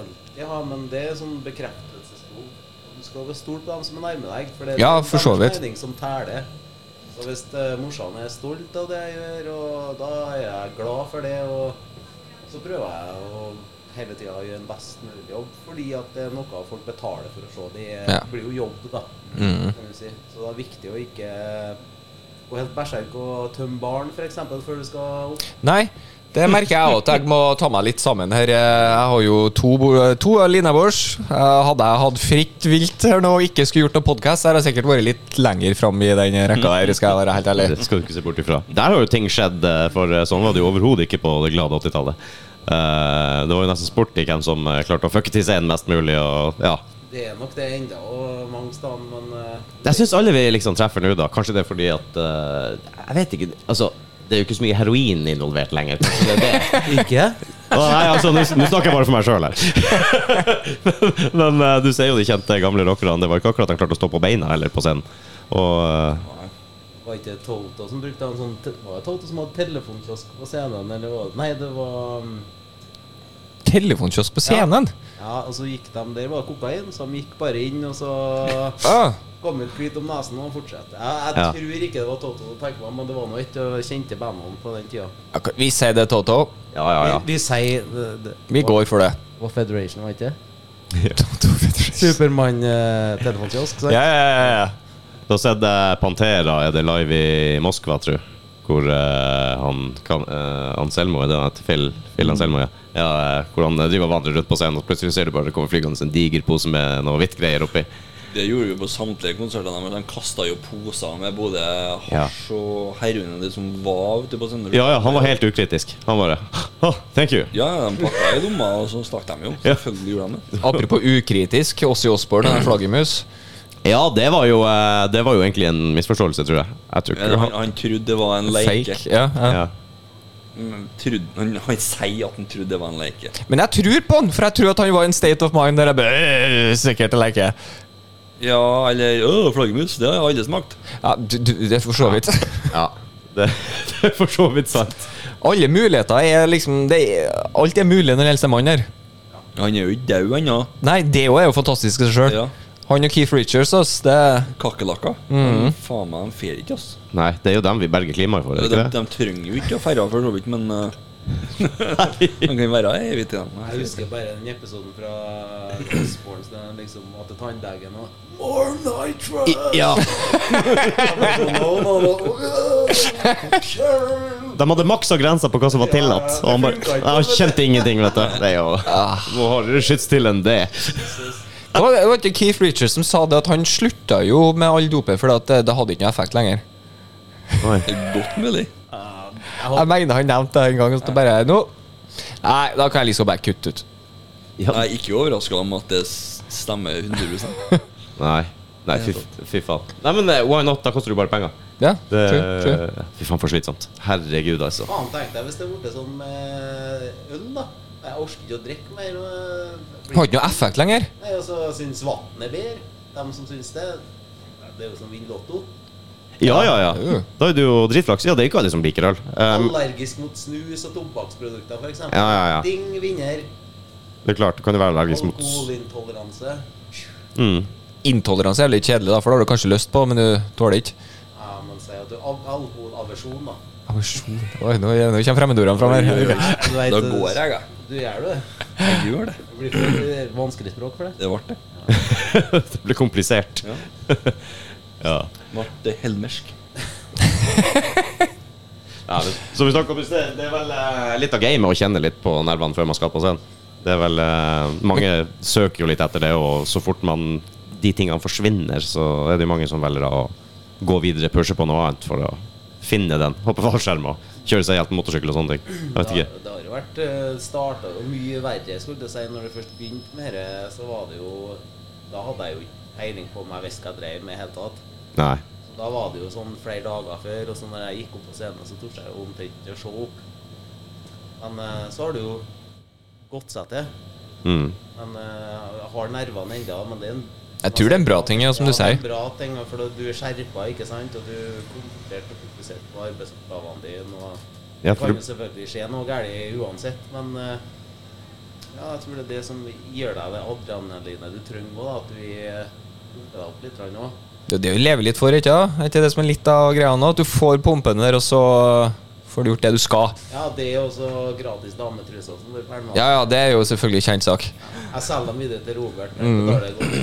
alltid ha, men det er sånn bekreftelsesbehov. Du skal være stolt på dem som er nærme deg, for det er
Ja,
deres
for så vidt.
mening som teller. Så hvis eh, morsan er stolt av det jeg gjør, og da er jeg glad for det, og så prøver jeg å hele tida gjøre en best mulig jobb, fordi at det er noe folk betaler for å se. Det er-
Ja.
blir jo jobb, da, kan du si. Så det er viktig å ikke gå helt berserk og tømme barn, f.eks., før du skal opp.
Nei, det merker jeg òg. Jeg må ta meg litt sammen her. Jeg har jo to, bo- to linebors. Eh, Hadde jeg hatt fritt vilt her nå og ikke skulle gjort noe podkast, hadde jeg sikkert vært litt lenger fram i den rekka der, skal jeg være helt ærlig.
Det skal du ikke se bort ifra. Der har jo ting skjedd, eh, for eh, sånn var det jo overhodet ikke på det glade 80-tallet. Eh, det var jo nesten sport i hvem som eh, klarte å fucke til scenen mest mulig. Og, ja.
Det er nok det enda, og mange steder, men eh,
Jeg syns alle vi liksom treffer nå, da. Kanskje det er fordi at eh, Jeg vet ikke. Altså, det er jo ikke så mye heroin involvert lenger. Kanskje det er det.
Ikke?
Å, nei, altså, nå, nå snakker jeg bare for meg sjøl her. Men eh, du ser jo de kjente gamle rockerne. Det var ikke akkurat de klarte å stå på beina heller på scenen. Og eh,
Var ikke Toto som brukte en sånn te- Var det Toto som hadde telefonkiosk på scenen, eller var det Nei, det var um,
Telefonkiosk på scenen?
Ja, og så gikk de Der var det kokain, så de gikk bare inn, og så
Ah.
kom ut hvit om nesen og fortsatte. Jeg, jeg
Ja.
tror ikke det var Toto som tenkte meg, men det var nå et av de kjente bandene på den tida.
Ok, Vi sier det, Toto.
ja, ja, ja.
Vi, vi sier det- det-
Vi går for det.
Var Federation, var det ikke?
Toto Federation.
eh, Supermann-telefonkiosk, sant?
Ja, ja, ja, ja. Da sett jeg Pantera er det live i Moskva, tror jeg. Hvor eh, han kan, eh, Anselmo er det han heter? Phil, Phil Anselmo, ja. ja eh, hvor han eh, driver og vandrer rundt på scenen, og plutselig ser du bare det kommer flygende en diger pose med noe hvitt greier oppi.
Det gjorde vi jo på samtlige konserter. Men de kasta jo poser med både hasj og heroin og det som var ute på Sønderud.
Ja, ja, han var helt ukritisk. Han bare «Åh, Thank you.
Ja, ja, de pakka i lomma, og så stakk de jo.
Ja.
Selvfølgelig gjorde de det.
Apropos ukritisk, Åssi Osborn er en flaggermus.
Ja, det var jo, eh, det var jo egentlig en misforståelse, tror jeg. jeg tror ikke
Men
han-
Han, han trodde det var en leke.
Fake. Ja, ja.
Ja.
Mm, Trodde, han, han sier at han trodde det var en leke.
Men jeg tror på han, for jeg tror at han var i en state of mind der jeg bare «Øh, Sikkert å leke.
Ja, eller Å, flaggermus. Det har alle smakt.
Ja, du, du, det er for så vidt.
Det, det er for så vidt sant.
Alle muligheter er liksom det er, Alt er mulig når det gjelder mann her.
Han er jo ikke død ennå.
Nei, det òg er jo fantastisk i seg sjøl.
Ja.
Han og Keith Richards, ass. Det
Kakerlakker.
Mm.
Faen meg, de fer ikke, ass.
Nei, det er jo dem vi berger klimaet for, er
De,
det
de,
ikke det?
trenger jo ikke å ferde for så vidt, men eh, Han kan være her evig til dem.
Jeg husker bare den episoden fra Osborns der han liksom var til tannlegen og More nitro!
Ja.
no, no, no.
De hadde maksa grensa på hva som var tillatt, og han bare Jeg kjente ingenting, vet du. Ah. Det er jo Må ha skyts til enn det.
Det var det var ikke Keith Richards som sa det at han slutta jo med all dopet fordi at det, det hadde ikke noe effekt lenger.
Det er godt mulig.
Jeg mener han nevnte det en gang. Så det bare nå Nei, da kan jeg liksom bare kutte ut.
Jeg er ikke overraska om at det s- stemmer 100
Nei. Nei, fy, fy faen. Nei, men eh, why not? Da koster det jo bare penger.
Ja,
Det,
true, true.
fy faen, for slitsomt. Herregud, altså.
Faen tenkte jeg hvis det ble sånn med eh, øl, da. Jeg orker ikke å drikke mer. og- eh,
Har ikke noe effekt lenger.
Nei, Og så syns vann er bedre. De som syns det. Det er jo som vinner lotto.
Ja, ja, ja. Da er det jo dritflaks. Ja, det er ikke alle som liker øl. Um,
Allergisk mot snus og tobakksprodukter, f.eks.
Ja, ja, ja.
Ding vinner.
det er klart, du kan jo være allergisk mot
Alkoholintoleranse.
mm.
Intoleranse er litt kjedelig, da, for det har du kanskje lyst på, men du tåler ikke.
Ja, man sier at du al- Alkoholaversjon, da.
Aversjon. Oi, nå, nå kommer fremmedordene fram her.
Du vet,
Da går jeg, jeg.
Du gjør jo det.
Jeg gjør det.
Det blir for- det er vanskelig språk for deg.
Det ble det.
Det blir komplisert.
Ja.
ja.
Ble det helmersk.
Ja, men, som vi snakket om i sted, det er vel eh, litt av gamet å kjenne litt på nervene før man skal på scenen. Det er vel eh, Mange søker jo litt etter det, og så fort man de tingene forsvinner, så er det jo mange som velger å gå videre, pushe på noe annet for å finne den. Hoppe fallskjerm og kjøre seg helt på motorsykkel og sånne ting. Jeg vet
Det,
ikke.
det har jo vært starta jo mye verre, skulle jeg si. Når du først begynte med dette, så var det jo Da hadde jeg jo ikke peiling på om jeg visste hva jeg drev med i det hele tatt.
Nei.
Så Da var det jo sånn flere dager før, og så når jeg gikk opp på scenen, så torde jeg jo omtrent ikke å se opp. Men eh, så har det jo gått seg til.
Mm.
Men eh, jeg har nervene ennå. Men det er en
Jeg tror det er en bra ting, ja, som du
ja, det er
sier.
en bra ting, ja, for da- du er skjerpa, ikke sant? Og du er konsentrert og fokusert på arbeidsoppgavene dine. og
Ja,
Det
for
kan
du-
jo selvfølgelig skje noe galt uansett, men eh, ja, jeg tror det er det som gir deg det adrenalinet du trenger også, da, at du er pumper deg opp litt grann også.
Det er det vi lever litt for, ikke sant? Er ikke det som er litt av greia nå? At du får pumpene der, og så får du gjort det du skal.
Ja, det er også gratis dametruser som blir ferdig med.
Ja, ja, det er jo selvfølgelig kjent sak.
Jeg selger dem videre til Robert. Mm. Det godt.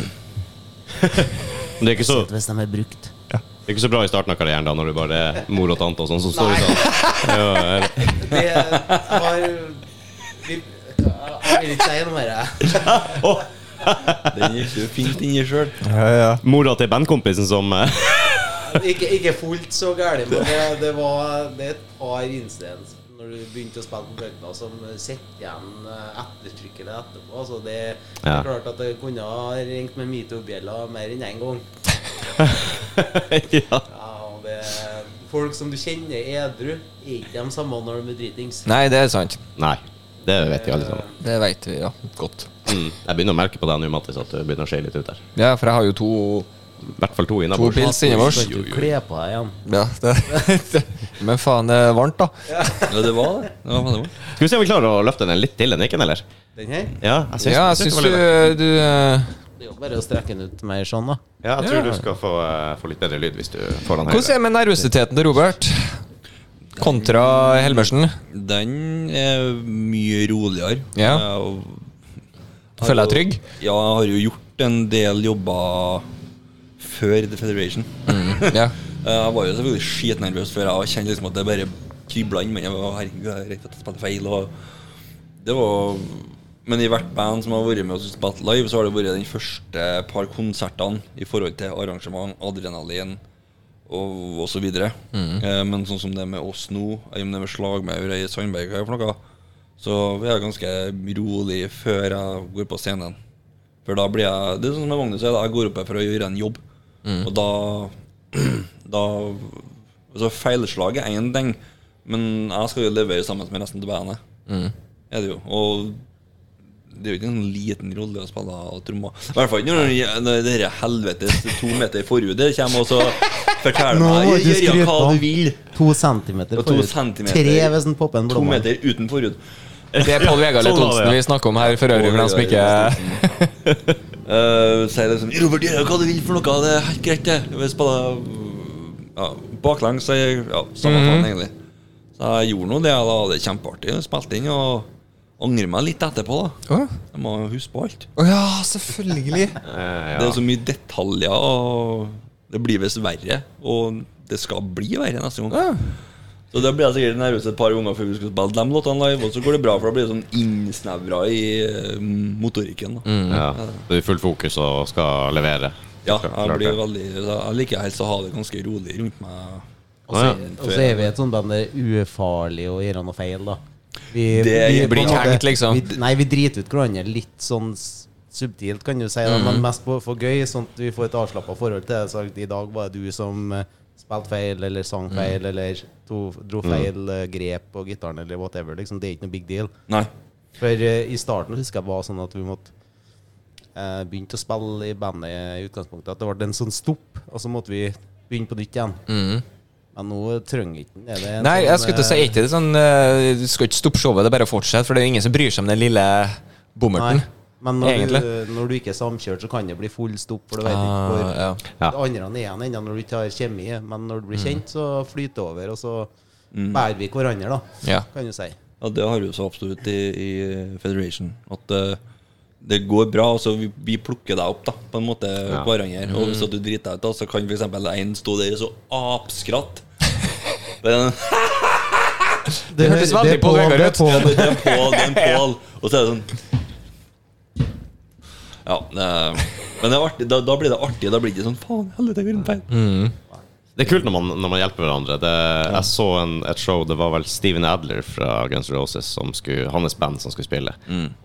Men det er, ikke så, det
Hvis de er brukt.
er ikke så bra i starten av karrieren, da, når du bare er mor og tante og sånn som står i salen. Ja, ja, ja.
Det har vi, Jeg vil ikke si noe mer. jeg.
Åh,
Den gikk du fint inni sjøl.
mora til bandkompisen som eh,
Ikke, ikke fullt så gærent, men det, det var det er et par incidents når du begynte å spille på Bøkna, som sitter igjen eh, ettertrykkelig etterpå. Altså det, det
Ja.
er klart at det kunne ha ringt med metoo-bjella mer enn én gang.
Ja.
Ja, og det, folk som du kjenner edru, er ikke de samme når de er dritings.
Nei, det er sant.
Nei. Det vet vi alle sammen.
Det veit vi, ja. Godt.
Mm. Jeg begynner å merke på deg nå, Mattis, at du begynner å se litt ut der.
Ja, for jeg har jo to,
I hvert fall to
to
innabords.
pils innabords.
Skal ikke du kle på deg igjen?
Ja, det- men faen, det er varmt, da.
Ja, det var det. det, var det var.
Skal vi se om vi klarer å løfte den litt til, den ikke, eller?
Den her?
Ja, jeg syns,
Ja, jeg
jeg syns
syns
det var litt-
du, du eh,
Det er jo bare å strekke den ut mer sånn, da.
Ja, jeg tror
Ja.
du skal få, eh, få litt bedre lyd hvis du får den
Hvordan er det med nervøsiteten til Robert? Kontra Helmersen?
Den er mye roligere.
Ja.
Jeg-
Føler jeg trygg?
Ja, jeg har jo gjort en del jobber før The Federation.
Mm. Ja.
Eh, Jeg var jo selvfølgelig skitnervøs før. Jeg kjente liksom at det bare kribla inn. Men jeg var herregud, jeg er redd for at jeg spiller feil. Og det var Men i hvert band som har vært med oss og spilt live, så har det vært den første par konsertene i forhold til arrangement, adrenalin og osv. videre Eh, men sånn som det er med oss nå, eller om det er med slagmaur i Sandberg eller for noe, så er jeg ganske rolig før jeg går på scenen. For da blir jeg Det er sånn som med Magnus, er da jeg går opp her for å gjøre en jobb. Og da da altså Feilslaget er én ting, men jeg skal jo levere sammen med resten av bandet. Er det jo. Og det er jo ikke en liten rolle å spille av trommer. I hvert fall ikke når når det der helvetes to meter forhudet kommer og så forteller
Nå må
meg
du
Gjør ja, hva
skryte.
du vil.
To centimeter
Og to centimeter.
Tre hvis den popper en
To
blomme.
meter uten forhud.
Det er Pål Vegard
sånn var
Thonsen
det, ja.
vi snakker om her for øvrig, for dem som ikke
Eh, sier liksom 'Robert, gjør hva du vil for noe, det er helt greit, det'. Hvis bare ja, Baklengs så jeg, ja, samme faen, egentlig. Så jeg gjorde nå det, da. Det er kjempeartig. Jeg Spilte inn og angrer meg litt etterpå, da.
Å
Jeg må jo huske på alt.
Å ja, selvfølgelig.
Eh,
Det er så mye detaljer, og det blir visst verre. Og det skal bli verre neste gang.
Ja.
Så da blir jeg sikkert nervøs et par ganger før vi skal spille de låtene live, og så går det bra, for da blir det sånn innsnevra i eh, motorikken. da
Ja, du er i fullt fokus og skal levere.
Ja,
Klart- klart
jeg blir
det.
veldig Jeg liker helst å ha det ganske rolig rundt meg.
Og så,
Ja,
og så er vi et sånt band det er ufarlig å gjøre noe feil, da. Vi,
Det
vi-
blir
ikke
på en måte-
hengt, liksom.
Vi, nei, vi driter ut hverandre litt sånn s- subtilt, kan du si, da,
Mhm.
men mest på, for gøy, sånn at vi får et avslappa forhold til det. Så at I dag var det du som eh, spilte feil, eller
Mhm.
sang feil, eller to, dro feil eh, grep på gitaren, eller whatever. Liksom. Det er ikke noe big deal.
Nei.
For eh, i starten husker jeg var sånn at vi måtte eh, begynte å spille i bandet i utgangspunktet. At det ble en sånn stopp, og så måtte vi begynne på nytt igjen. Men nå trenger vi ikke den. Er det
Mm.
en
Nei,
sånn,
jeg skulle til å si
eh,
ikke det sånn eh, Du skal ikke stoppe showet, det er bare å fortsette, for det er jo ingen som bryr seg om den lille bommerten.
Nei. Men når du,
egentlig.
når du ikke er samkjørt, så kan det bli full stopp. For du vet ikke hvor
Ah, ja.
Ja.
det andre er igjen ennå når du ikke har kjemi.
Mm.
Men når du blir kjent, så flyter det over, og så bærer vi hverandre, da.
Ja.
Kan du si.
Ja, det har vi jo så absolutt i, i Federation. At eh, det går bra. Altså, vi, vi plukker deg opp, da, på en måte, hverandre. Og hvis at du driter deg ut, da, så kan f.eks. én stå der og så apskratt. Men,
Det hørtes veldig
det er Pål,
påvirkende
det er
ut.
Pål.
ja, det, det er Pål, det er en Pål. Og så er det sånn Ja. Det, er- men det er artig, da, da blir det artig. Da blir det ikke sånn Faen, helvete, jeg gjorde en feil.
Det er kult når man, når man hjelper hverandre. Det, Jeg så en, et show, det var vel Steven Adler fra Guns N' Roses, som skulle, hans band, som skulle spille.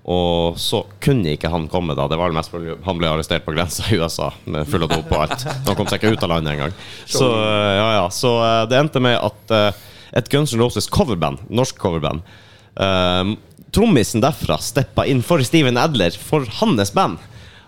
Og så kunne ikke han komme, da. Det var det mest fordi Han ble arrestert på grensa i USA med full av dop og alt. Han kom seg ikke ut av landet engang. Så, eh, ja, ja. så eh, det endte med at eh, et Guns N' Roses coverband, norsk coverband eh, Trommisen derfra steppa inn for Steven Adler for hans band.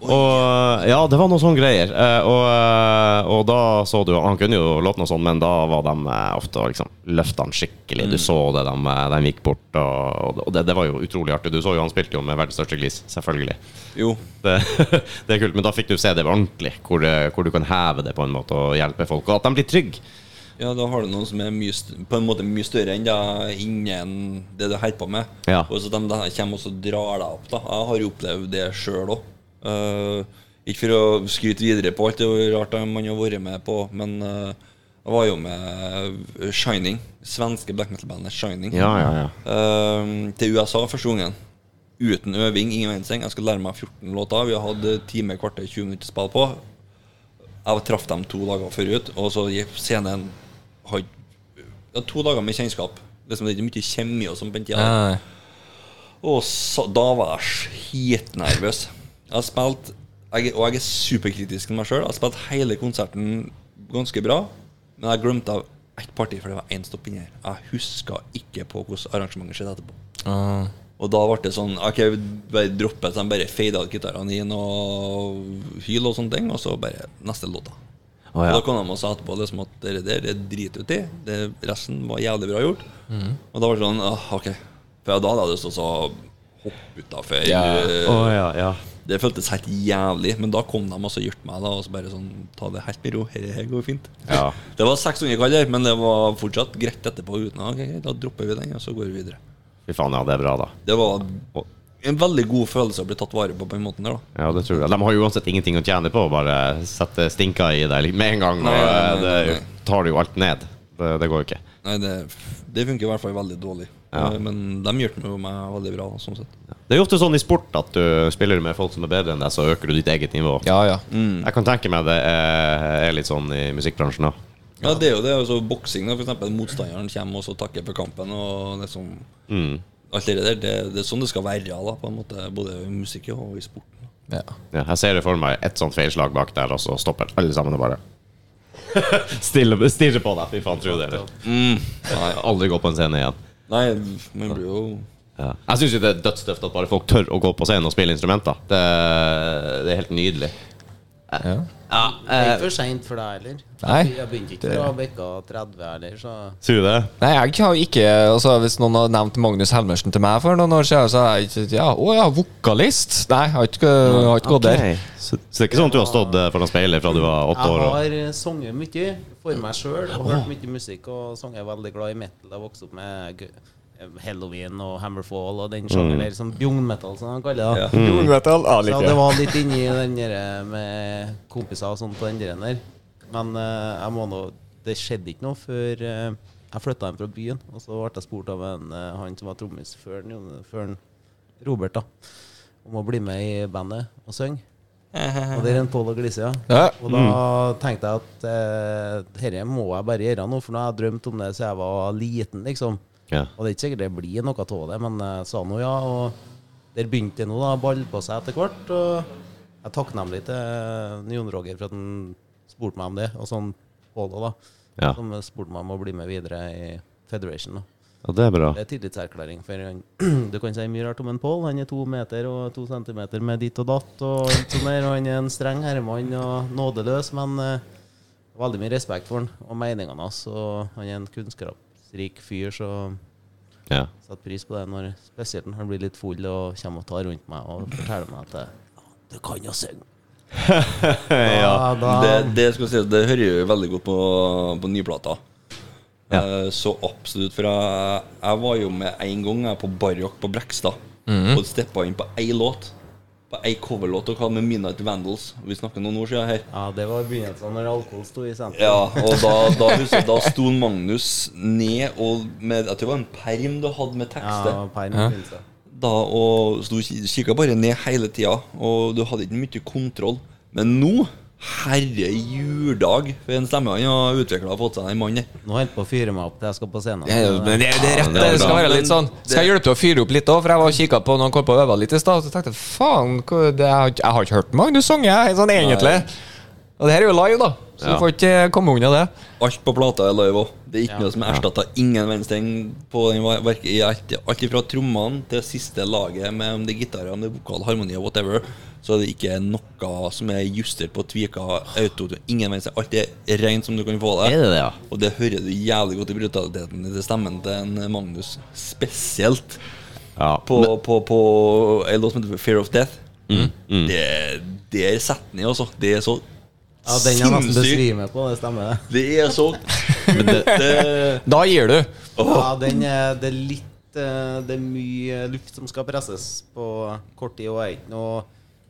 Og ja, det var noen sånne greier. Eh, og, eh, og da så du Han kunne jo låten og sånn, men da var de eh, ofte og liksom løfta han skikkelig.
Mm.
Du så det, de, eh, de gikk bort, og, og det, det var jo utrolig artig. Du så jo han spilte jo med verdens største glis, selvfølgelig.
Jo.
Det, det er kult, men da fikk du se det ordentlig, hvor, eh, hvor du kan heve det på en måte og hjelpe folk. Og at de blir trygge.
Ja, da har du noen som er mye, st- på en måte mye større enn deg innen det du holder på med.
Ja.
Og så de der kommer og så drar deg opp. da Jeg har jo opplevd det sjøl òg. ikke for å skryte videre på alt det er jo rart det man har vært med på, men eh, jeg var jo med Shining, svenske black metal-bandet Shining,
ja, ja.
eh, til USA første gangen. Uten øving, ingen verdensting. Jeg skulle lære meg 14 låter. Vi hadde time, kvarter, 20 minutter spill på. Jeg traff dem to dager forut, og så gikk scenen har, ja, To dager med kjennskap. Liksom, det er ikke mye kjemi og sånn på den tida.
Nei.
Og så, da var jeg skitnervøs. Jeg har spilt jeg, Og jeg er superkritisk til meg sjøl. Jeg har spilt hele konserten ganske bra, men jeg glemte av ett parti, for det var én stopp inni her. Jeg huska ikke på hvordan arrangementet skjedde etterpå. Og da ble det sånn Ok, vi bare droppet så de bare fada ut gitarene inn og hyl og sånne ting, og så bare neste låta. Og da kom de og sa etterpå liksom at det der det driter ut i. Det, resten var jævlig bra gjort.
Mhm.
Og da var det sånn ah, Ok. For da hadde jeg lyst til å så hoppe utafor.
ja, ja.
Det føltes helt jævlig, men da kom de og så hjalp meg. da Og så bare sånn Ta det helt med ro. Her, her går fint.
Ja.
Det var 600 kall her, men det var fortsatt greit etterpå. Uten, ok, greit, da dropper vi den, og så går vi videre.
Fy faen, ja, det er bra, da.
Det var en veldig god følelse å bli tatt vare på på den måten der, da.
Ja, det tror jeg. De har jo uansett ingenting å tjene på å bare sette stinka i deg litt med en gang.
Nei,
og eh,
nei, nei,
det tar det jo alt ned. Det, det går jo ikke.
Nei, det, det funker i hvert fall veldig dårlig. Eh, Men de hjalp meg jo meg veldig bra, da, sånn sett.
Det er jo ofte sånn i sport at du spiller med folk som er bedre enn deg, så øker du ditt eget nivå.
Ja, ja.
Mm.
Jeg kan tenke meg det er, er litt sånn i musikkbransjen òg.
Ja, det er jo det. Altså, boksing, da, for eksempel. Motstanderen kommer og så takker for kampen, og liksom Alt det der. Det, det er sånn det skal være, da, på en måte. Både i musikken og i sporten. da.
ja.
Ja, jeg ser det for meg ett sånt feilslag bak der, og så stopper alle sammen og bare Stille, Stirrer på deg. Fy faen, tro det. eller? Nei, aldri gå på en scene igjen.
Nei, man blir jo
Ja. Jeg syns det er dødstøft at bare folk tør å gå på scenen og spille instrumenter. Det, det er helt nydelig.
Ja.
Det er ikke for seint for deg heller.
Nei.
Jeg begynte ikke å bikke 30 heller, så
Tror du det?
Nei, jeg har ikke altså, Hvis noen har nevnt Magnus Helmersen til meg for noen år siden, så har jeg ikke ja, Å ja, vokalist? Nei, jeg har ikke, jeg har ikke gått der.
Ok. Så, så det er ikke sånn at du har stått eh, foran speilet fra du var åtte år?
Jeg
Og...
har eh, sunget mye for meg sjøl og hørt mye musikk. Og sunget veldig glad i metal. Jeg vokste opp med g- Halloween og Hammerfall og den sjangeren der sånn som bjungmetal, som de kaller det.
Mm.
Så det var litt inni den der eh, med kompiser og sånn på den der der. Men eh, jeg må nå Det skjedde ikke noe før eh, jeg flytta hjem fra byen. Og så ble jeg spurt av en, eh, han som var trommis før, den Jon- før den- Robert, da, om å bli med i bandet og synge. Og det er en Pål og Glise, ja.
Ja.
Og da tenkte jeg at eh, herre må jeg bare gjøre nå, for nå har jeg drømt om det siden jeg var liten, liksom.
Ja.
Og det er ikke sikkert det blir noe av det, men jeg sa nå ja, og der begynte det nå, da. Ball på seg etter hvert. Og jeg er takknemlig til eh, Jon Roger for at han spurte meg om det, og sånn Pål òg, da.
Ja.
Som spurte meg om å bli med videre i Federation. da.
Ja, det er bra.
Det er tillitserklæring. For han, du kan si mye rart om en Pål. Han er to meter og to centimeter med ditt og datt. Og alt sånt der, og han er en streng herremann og nådeløs, men eh, veldig mye respekt for han og meningene hans. Og han er en kunnskapsrik fyr, så
Ja.
setter pris på det når spesielt når han blir litt full og kommer og tar rundt meg og forteller meg at eh, du kan jo synge. Da, da,
Det, det, skal jeg si, det hører jo veldig godt på, på nyplata. Eh, Så absolutt. For jeg, jeg var jo med en gang jeg på Barrock på Brekstad og steppa inn på ei låt. På ei coverlåt og hva med Midnight Vandals. Vi snakker noen år siden her.
Ja, det var begynnelsen når alkohol sto i sentrum.
Ja, og da, da, husker jeg, da sto Magnus ned og med, Jeg tror det var en perm du hadde med tekster.
Ja, perm begynte.
da, og så du kikka bare ned hele tida, og du hadde ikke mye kontroll. Men nå, herre juledag, for en stemme han har utvikla og fått seg, den mannen der.
Nå holder jeg på å fyre meg opp til jeg skal på scenen.
Ja, ja, Men det, det er rett, det, skal
bra.
være litt sånn Skal jeg hjelpe til å fyre opp litt òg, for jeg var og kikka på når han kom på og øva litt i stad, og så tenkte jeg faen, hva- det, jeg, har ikke- jeg har ikke hørt Magnus synge, jeg, sånn egentlig. Og det her er jo live, da, så
Ja.
du får ikke komme unna det.
Alt på plata er live òg. Det er ikke noe som er erstatta. Ingen verdensting på den ver- verket i alt. Alt fra trommene til siste laget med om det er gitar, om det er vokal, harmoni og whatever. Så er det ikke noe som er justert på tvika, auto, ingen verdensting. Alt er rent som du kan få det.
Er det det, ja?
Og det hører du jævlig godt i brutaliteten til stemmen til en Magnus. Spesielt
Ja.
på, på, på en låt som heter Fear of Death.
Mm,
Det, det er setten i, altså. Det er så
Ja, den er nesten
sinnssykt.
besvimer på, det stemmer. det.
Det er så det,
Da gir du.
Ja, den er, det er litt eh, Det er mye luft som skal presses på kort tid, og jeg er ikke noe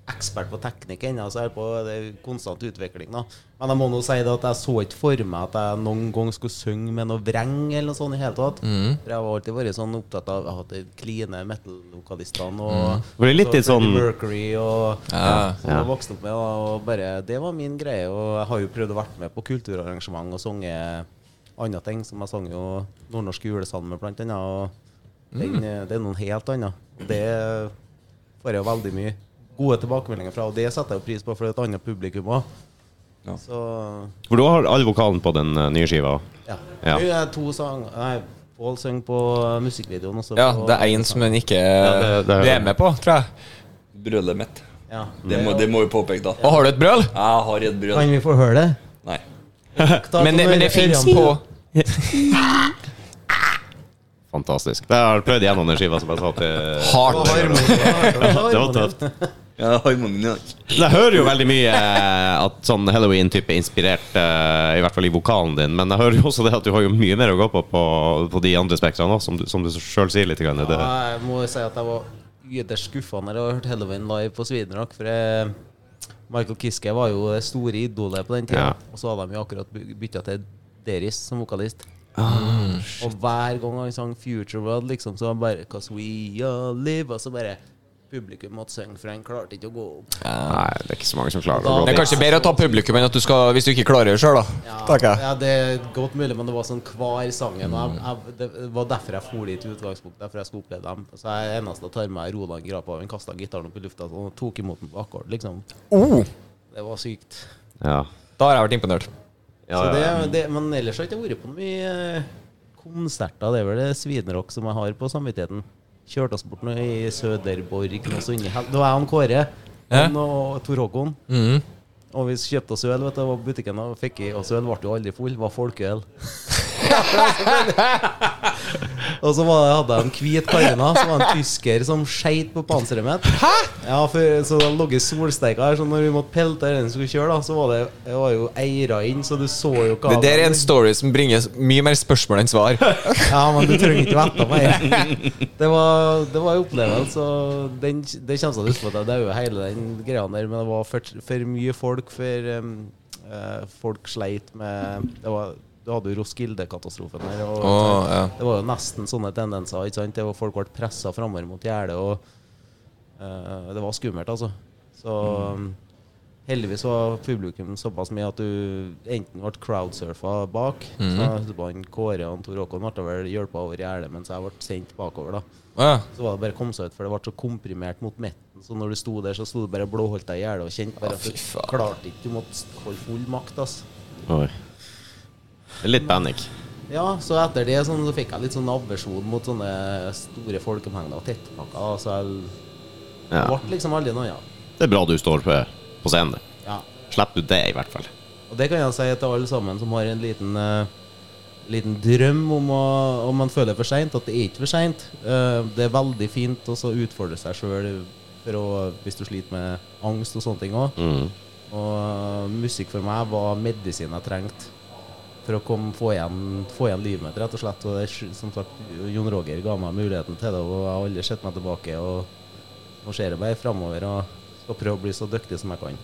ekspert på teknikk ennå, så jeg er på det er konstant utvikling, da. Men jeg må nå si det at jeg så ikke for meg at jeg noen gang skulle synge med noe vreng eller noe sånt i hele tatt.
Mm.
For jeg har alltid vært sånn opptatt av at det kline metal-vokalistene og
For det er litt litt sånn-
Mercury og
Ja.
som jeg vokste opp med. da, Og bare, det var min greie. Og jeg har jo prøvd å vært med på kulturarrangement og sunget andre ting. Som jeg sang jo nordnorsk julesalme, blant annet. Og den, eh,
Mm.
det er noen helt annet. Og det får jeg jo veldig mye gode tilbakemeldinger fra, og det setter jeg jo pris på, for det er et annet publikum òg. Så
For du har all vokalen på den eh, nye skiva.
ja.
Ja.
Det er to sang Nei, Pål synger på musikkvideoen også.
Ja,
på-
det er én som en ikke
det- det-
Du er med på, tror jeg.
brølet mitt.
ja.
Det må, det må vi påpeke, da.
Og har du et brøl?
Jeg har et brøl.
Kan vi få høre det?
Nei.
Men, det- men det fins på
Fantastisk. Jeg har prøvd gjennom den skiva som jeg sa til
hardt.
Det var tøft.
Ja, harmonien ja.
Jeg hører jo veldig mye eh, at sånn Halloween-type er inspirert, eh, i hvert fall i vokalen din, men jeg hører jo også det at du har jo mye mer å gå på på, på de andre spektrene òg, som, du- som du sjøl sier litt. Grann, det.
Ja, jeg må si at jeg var ytterst skuffa når jeg hørte Halloween live på Sweden Rock. For eh, Michael Kiske var jo det store idolet på den tida.
Ja.
Og så hadde de jo akkurat by- bytta til Deris som vokalist. og hver gang han sang Future World, liksom, så var han bare Cause we all live. Og så bare Publikum måtte synge, for han klarte ikke å gå opp.
Nei, det er ikke så mange som klarer å
Da-
gå
Det er
dit.
kanskje bedre å ta publikum enn at du skal hvis du ikke klarer det sjøl, da. Tenker jeg.
ja, det er godt mulig, men det var sånn hver sangen. Og jeg, jeg, det var derfor jeg for dit i utgangspunktet. Derfor jeg skulle oppleve dem. Så jeg eneste jeg tar med meg Roland Grapa. Han kasta gitaren opp i lufta og tok imot den på akkord, liksom.
Oh,
Det var sykt.
Ja.
da har jeg vært imponert.
Ja,
Så
ja,
det,
ja.
Mm.
det, men ellers har jeg ikke vært på mye eh, konserter. Det er vel det svinrock som jeg har på samvittigheten. Kjørte oss bort nå i Søderborg noe så inni hel- Det var jeg og Kåre
Ja.
han og Tor Håkon. Og vi kjøpte oss øl vet du, på butikken og fikk i oss øl. Ble jo aldri full. Var folkeøl. og så var det, hadde jeg en hvit karina, som var en tysker som skeit på panseret mitt. Hæ? Ja, for, så det lå solsteika her, så når vi måtte pelte den skulle kjøre, da, så var det, det var jo eira inn, så du så jo hva
Det der er en story som bringer mye mer spørsmål enn svar.
Ja, men du trenger ikke vite mer. Det var, det var en opplevelse. og Den, det kommer til å huske på at jeg dauer hele den greia der, men det var for, for mye folk. For um, eh, folk sleit med det var, Du hadde jo Roskilde-katastrofen der. Og,
Å, ja.
Det var jo nesten sånne tendenser. Ikke sant? Det var folk ble pressa framover mot gjerdet, og eh, det var skummelt, altså. Så Heldigvis var publikum såpass mye at du
Mm.
enten ble crowdsurfa bak Så han Kåre og Tor Håkon ble vel hjulpet over gjerdet mens jeg ble sendt bakover. da
Ja.
Så var det bare å komme seg ut, for det ble så komprimert mot midten. Så når du sto der, så sto du bare og blåholdt deg i gjerdet og kjente bare at du
fy faen.
klarte ikke Du måtte holde full makt, ass.
Oi. Litt panikk.
Ja, så etter det sånn, så fikk jeg litt sånn aversjon mot sånne store folkemengder og tettpakker. da, Så jeg
Ja.
ble liksom aldri noe annet.
Det er bra du står på, på scenen.
Ja.
Slipper du det, i hvert fall.
Og det kan jeg si til alle sammen som har en liten eh, Liten drøm om å Om man føler for seint, at det er ikke for seint. det er veldig fint også å utfordre seg sjøl for å, hvis du sliter med angst og sånne ting òg. Og musikk for meg var medisin jeg trengte for å komme, få, igjen, få igjen livet mitt, rett og slett. Og det, er sj- som sagt, Jon Roger ga meg muligheten til det, og jeg har aldri sett meg tilbake. Og nå ser jeg bare framover og skal prøve å bli så dyktig som jeg kan.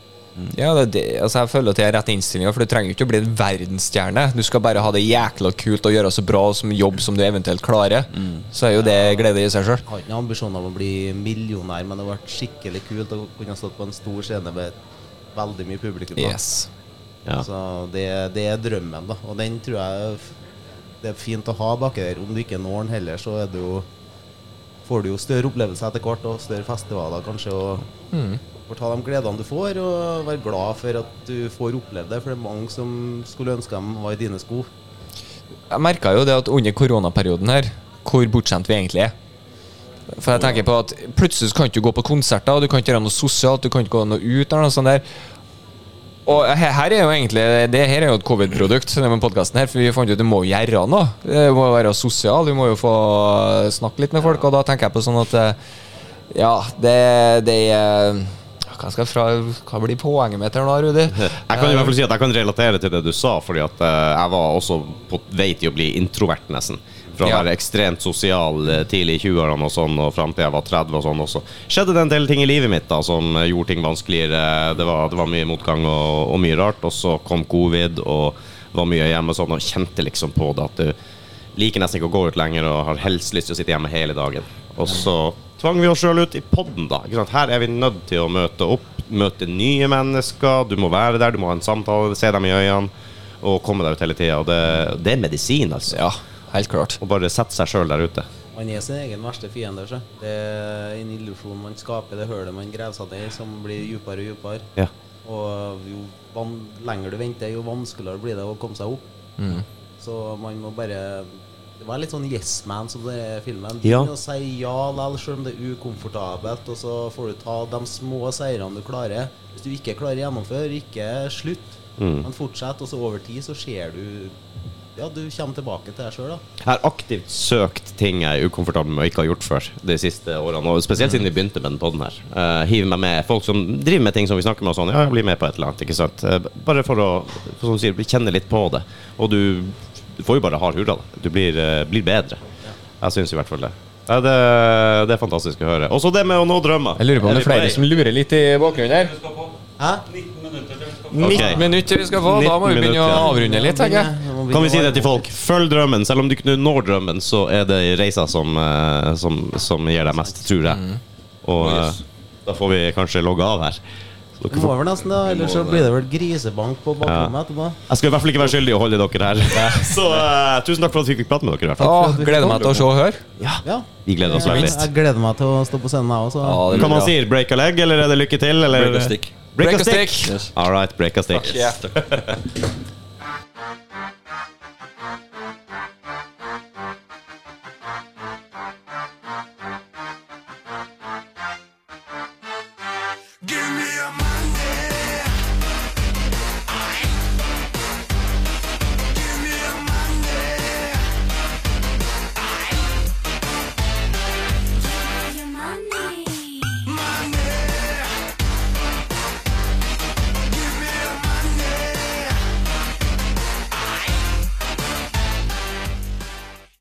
Ja, det, er det, altså Jeg føler at jeg har rett innstillinga, for du trenger jo ikke å bli en verdensstjerne. Du skal bare ha det jækla kult og gjøre så bra som jobb som du eventuelt klarer. Så er jo det glede i seg sjøl.
Jeg har ikke noen ambisjoner om å bli millionær, men det har vært skikkelig kult å kunne ha stått på en stor scene med veldig mye publikum. da.
Yes.
Ja.
Så det, det er drømmen, da. Og den tror jeg f- det er fint å ha baki der. Om du ikke når den heller, så er det jo får du jo større opplevelser etter hvert, og større festivaler kanskje. Og
Mm.
får ta de gledene du får, og være glad for at du får oppleve det. For det er mange som skulle ønske de var i dine sko.
Jeg merka jo det at under koronaperioden her, hvor bortskjemt vi egentlig er. For jeg tenker på at plutselig så kan du ikke gå på konserter, og du kan ikke gjøre noe sosialt, du kan ikke gå noe ut eller noe sånt der. Og he- her er jo egentlig Det her er jo et covid-produkt, denne podcasten her, for vi fant ut at vi må gjøre noe. Vi må være sosial, vi må jo få snakke litt med folk, og da tenker jeg på sånn at eh, Ja, det, det er Hva skal jeg fra Hva blir poenget mitt her nå, Rudi?
Jeg kan i hvert fall si at jeg kan relatere til det du sa, fordi at eh, jeg var også på vei til å bli introvert, nesten. Fra å
Ja.
være ekstremt sosial eh, tidlig i 20-årene og sånn, og fram til jeg var 30 og sånn også. Skjedde det en del ting i livet mitt da som eh, gjorde ting vanskeligere. Det var, det var mye motgang og, og mye rart. Og så kom covid og var mye hjemme og sånn, og kjente liksom på det at du liker nesten ikke å gå ut lenger og har helst lyst til å sitte hjemme hele dagen. Og så tvang vi oss sjøl ut i podden, da. Ikke sant? Her er vi nødt til å møte opp, møte nye mennesker. Du må være der, du må ha en samtale, se dem i øynene og komme deg ut hele tida. Og det, det er medisin, altså.
Ja, Eh, helt klart.
Å bare sette seg sjøl der ute.
Man er sin egen verste fiende. sjø. Det er en illusjon man skaper, det hølet man graver seg ned i, som blir dypere og dypere.
Ja.
Og jo van lenger du venter, jo vanskeligere blir det å komme seg opp. Så man må bare Det var litt sånn yes man som det er i filmen.
Ja.
Begynn å si ja likevel, selv om det er ukomfortabelt, og så får du ta de små seirene du klarer. Hvis du ikke klarer å gjennomføre, ikke slutt, men fortsett, og så over tid så ser du Ja, du kommer tilbake til deg sjøl, da.
Jeg har aktivt søkt ting jeg er ukomfortabel med og ikke har gjort før de siste årene. Og spesielt siden vi begynte med den podden her. Uh, hiver meg med folk som driver med ting som vi snakker med og sånn. Ja, bli med på et eller annet, ikke sant. Eh, bare for å for som du sier, kjenne litt på det. Og du, du får jo bare hard hurra. da. Du blir, eh, blir bedre. Jeg syns i hvert fall det. Ja, det, det er fantastisk å høre. Også det med å nå drømmer.
Jeg lurer på om det er flere som lurer litt i bakgrunnen her.
Hæ?
19 minutter vi skal få, da må vi
19
begynne å avrunde litt, tenker jeg.
Nå må
Kan vi si
begynne å
det til
varme opp.
folk? Følg drømmen. Selv om du ikke når drømmen, så er det reisa som, eh, som, som gir deg mest, tror jeg.
Mm.
Og
Oh,
eh, da får vi kanskje logge av her. Så
Vi
dere
må
får
vel nesten, da. Ellers så blir det vel grisebank på bakrommet etterpå.
jeg skal i hvert fall ikke være skyldig i å holde dere her. Så eh, tusen takk for at vi fikk prate med dere. i hvert fall
Å, gleder meg til å se og høre.
Ja.
Vi gleder oss
Jeg,
veldig.
jeg gleder meg til å stå på scenen, jeg også.
Ja, det blir
Kan man
bra.
si break a leg, eller er det lykke til? Eller?
Break a stick.
Break
Break
a
a
stick.
stick.
Yes.
All right, break a stick.
Takk.